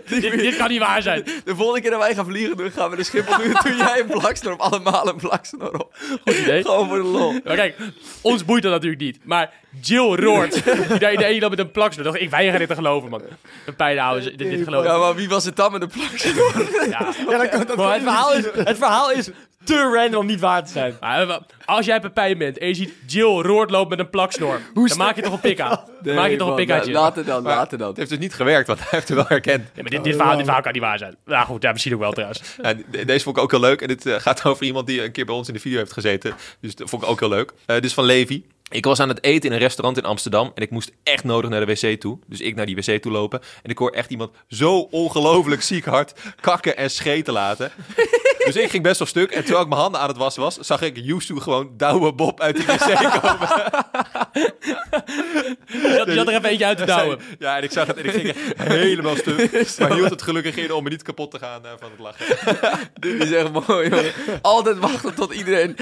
S2: Dit, dit kan niet waar zijn.
S5: de volgende keer dat wij gaan vliegen, doen, gaan we de Schiphol doen. Doe jij een plaksnor op, allemaal een plaksnor op.
S2: Goed idee.
S5: Gewoon voor de lol.
S2: Maar kijk, ons boeit dat natuurlijk niet. Maar Jill Roord, die daar in de ene loopt met een plaksnoor. dacht Ik weiger dit te geloven, man. Een pijn, ouwens. Dit, dit geloof ik.
S5: Ja, maar wie was het dan met de plaksnor?
S3: Ja, dan kan dat
S4: Maar het verhaal is, het verhaal is te random om niet waar te zijn.
S2: Ah, wa- Als jij Pepijn bent en je ziet Jill roord loopt met een plaksnor, dan maak je toch een pik aan. Dan maak je toch een pik aan, Jill.
S5: Later dan, later
S1: Het
S5: dan.
S1: heeft dus niet gewerkt, want hij heeft het wel herkend.
S2: Nee, maar dit, dit, verhaal, dit verhaal kan niet waar zijn. Nou goed, ja, misschien ook wel trouwens.
S1: Ja, de- deze vond ik ook heel leuk. En dit eh, gaat over iemand die een keer bij ons in de video heeft gezeten. Dus dat vond ik ook heel leuk. Eh dus van Levi. Ik was aan het eten in een restaurant in Amsterdam. En ik moest echt nodig naar de wc toe. Dus ik naar die wc toe lopen. En ik hoor echt iemand zo ongelooflijk ziek hard kakken en scheten laten. Dus ik ging best wel stuk. En terwijl ik mijn handen aan het wassen was, zag ik Yusu gewoon douwe Bob uit die wc komen.
S2: Je had, je had er even eentje uit te douwen.
S1: Ja, en ik zag het en ik ging echt helemaal stuk. Maar hield het gelukkig in om me niet kapot te gaan eh, van het lachen.
S5: Dit is echt mooi, jongen. Altijd wachten tot iedereen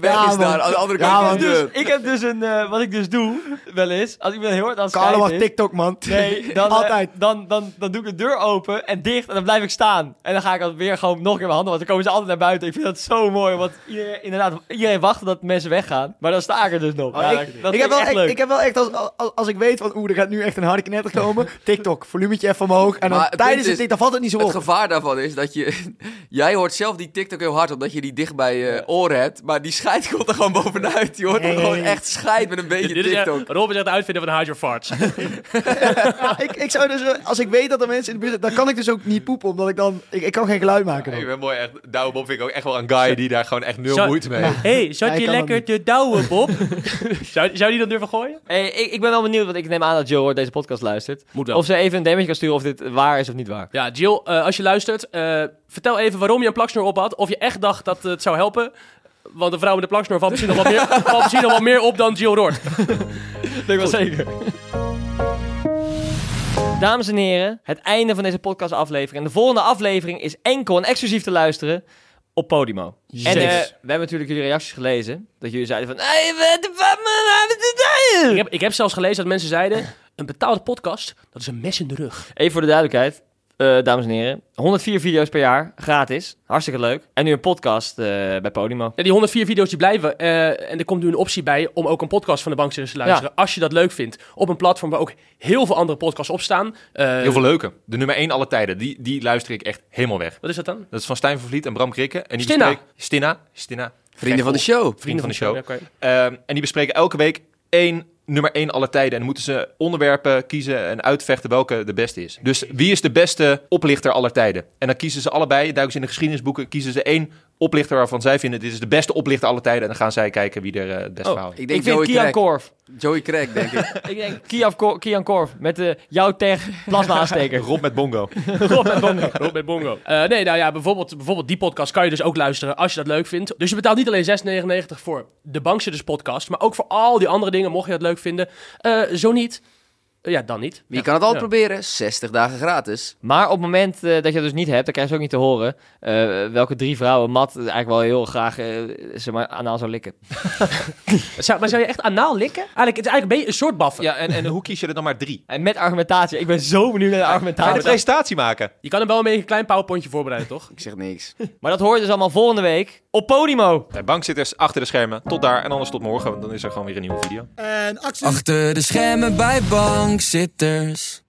S5: weg
S3: Ja,
S5: is
S3: man.
S5: daar. Aan de andere
S3: Ja,
S5: kant
S3: man.
S5: is de deur.
S4: Ik heb dus een, eh, wat ik dus doe, wel eens, als iemand heel hard aan het
S3: Carlo
S4: schijten
S3: mag
S4: is-
S3: TikTok, man.
S4: Nee, dan, eh,
S3: Altijd.
S4: dan, dan, dan doe ik de deur open en dicht en dan blijf ik staan. En dan ga ik dan weer gewoon nog een keer mijn handen, want dan komen ze altijd naar buiten. Ik vind dat zo mooi, want iedereen, inderdaad, iedereen wacht dat mensen weggaan. Maar dan sta ik er dus nog.
S3: Oh,
S4: Ja, dat-
S3: ik,
S4: dat
S3: ik
S4: vind
S3: heb wel
S4: echt
S3: echt,
S4: leuk.
S3: ik heb wel echt als, als, als ik weet van oeh, er gaat nu echt een harde knetter komen. TikTok, volumetje even omhoog. En dan
S5: Maar het punt
S3: tijdens het
S5: is-
S3: TikTok, dan valt het niet zo op.
S5: Het gevaar daarvan is dat je... Jij hoort zelf die TikTok heel hard, omdat je die dicht bij je oren hebt. Maar die scheid komt er gewoon bovenuit. Je hoort hem
S3: Nee.
S5: gewoon echt scheid met een beetje
S2: Dit is echt,
S5: TikTok.
S2: Rob is echt de uitvinder van Hide Your Farts.
S3: Ja, ik, ik zou dus, eh, als ik weet dat er mensen in de buurt zijn, dan kan ik dus ook niet poepen, omdat ik dan, ik, ik kan geen geluid maken.
S1: Ik
S3: Dan.
S1: ben mooi echt. Douwe Bob vind ik ook echt wel een guy die daar gewoon echt nul
S2: Zo-
S1: moeite mee heeft.
S2: hey, zat
S3: Hij
S2: je
S3: kan dat
S2: lekker
S3: niet.
S2: te douwen, Bob? zou, zou die dan durven gooien?
S4: Hey, ik, ik ben wel benieuwd, want ik neem aan dat Joe hoor deze podcast luistert.
S2: Moet
S4: Of ze even een damage kan sturen of dit waar is of niet waar.
S2: Ja, Jill, eh, als je luistert, eh, vertel even waarom je een plaksnoor op had. Of je echt dacht dat het zou helpen. Want een vrouw met een plaksnoor valt misschien nog wat meer, valt misschien nog wat meer op dan Jill Roord.
S4: Ik denk wel zeker. Dames en heren, het einde van deze podcastaflevering. En de volgende aflevering is enkel en exclusief te luisteren op Podimo. En eh, we hebben natuurlijk jullie reacties gelezen. Dat jullie zeiden van... Hey, wat, wat,
S2: Ik heb, ik heb zelfs gelezen dat mensen zeiden, een betaalde podcast, dat is een mes in de rug.
S4: Even voor de duidelijkheid, eh, dames en heren. 104 video's per jaar, gratis. Hartstikke leuk. En nu een podcast eh, bij Podimo.
S2: Ja, die 104 video's die blijven. eh, en er komt nu een optie bij om ook een podcast van de bankzitters te luisteren. Als je dat leuk vindt. Op een platform waar ook heel veel andere podcasts op staan. Eh,
S1: Heel veel leuke. De nummer 1 alle tijden. Die, die luister ik echt helemaal weg.
S2: Wat is dat dan?
S1: Dat is van Stijn van Vliet en Bram Krikke. En die
S2: Stinna.
S1: bespreken- Stinna. Stinna.
S5: Vrienden van de
S1: show.
S5: show.
S1: Vrienden van de show.
S2: Ja, oké.
S1: Ehm, en die bespreken elke week één nummer 1 alle tijden. En dan moeten ze onderwerpen kiezen en uitvechten welke de beste is. Dus wie is de beste oplichter aller tijden? En dan kiezen ze allebei, duiken ze in de geschiedenisboeken, kiezen ze één oplichter waarvan zij vinden dit is de beste oplichter aller tijden. En dan gaan zij kijken wie er eh, het beste verhaal heeft.
S5: Ik
S4: Ik
S5: denk
S4: vind
S5: Joey
S4: Kian
S5: Crack.
S4: Korf.
S5: Joey Crack, denk ik.
S4: Ik denk Kian, Ko- Kian Korf met de jouw tech plasma aansteker.
S1: Rob met Bongo.
S2: Rob met Bongo. Rob met Bongo. Eh, nee, nou ja, bijvoorbeeld, bijvoorbeeld die podcast kan je dus ook luisteren als je dat leuk vindt. Dus je betaalt niet alleen 6,99 voor de Bankzitters podcast, maar ook voor al die andere dingen, mocht je dat leuk vinden. Eh, zo niet, eh, ja, dan niet.
S5: Wie kan het altijd
S2: Ja.
S5: proberen? 60 dagen gratis.
S4: Maar op het moment eh, dat je dat dus niet hebt, dan krijg je ook niet te horen eh, welke drie vrouwen Matt eigenlijk wel heel graag eh, zeg maar, anaal zou likken.
S2: Zou, maar zou je echt anaal likken? Eigenlijk, het is eigenlijk ben je een soort baffen.
S1: Ja, en, en hoe kies je er dan maar drie?
S4: En met argumentatie. Ik ben zo benieuwd naar de
S1: Ga je de
S4: argumentatie.
S1: presentatie maken?
S2: Je kan hem wel een beetje een klein powerpointje voorbereiden, toch?
S5: Ik zeg niks.
S4: Maar dat hoor je dus allemaal volgende week op Podimo.
S1: Bij bankzitters achter de schermen. Tot daar en anders tot morgen, want dan is er gewoon weer een nieuwe video.
S6: Achter de schermen bij bankzitters.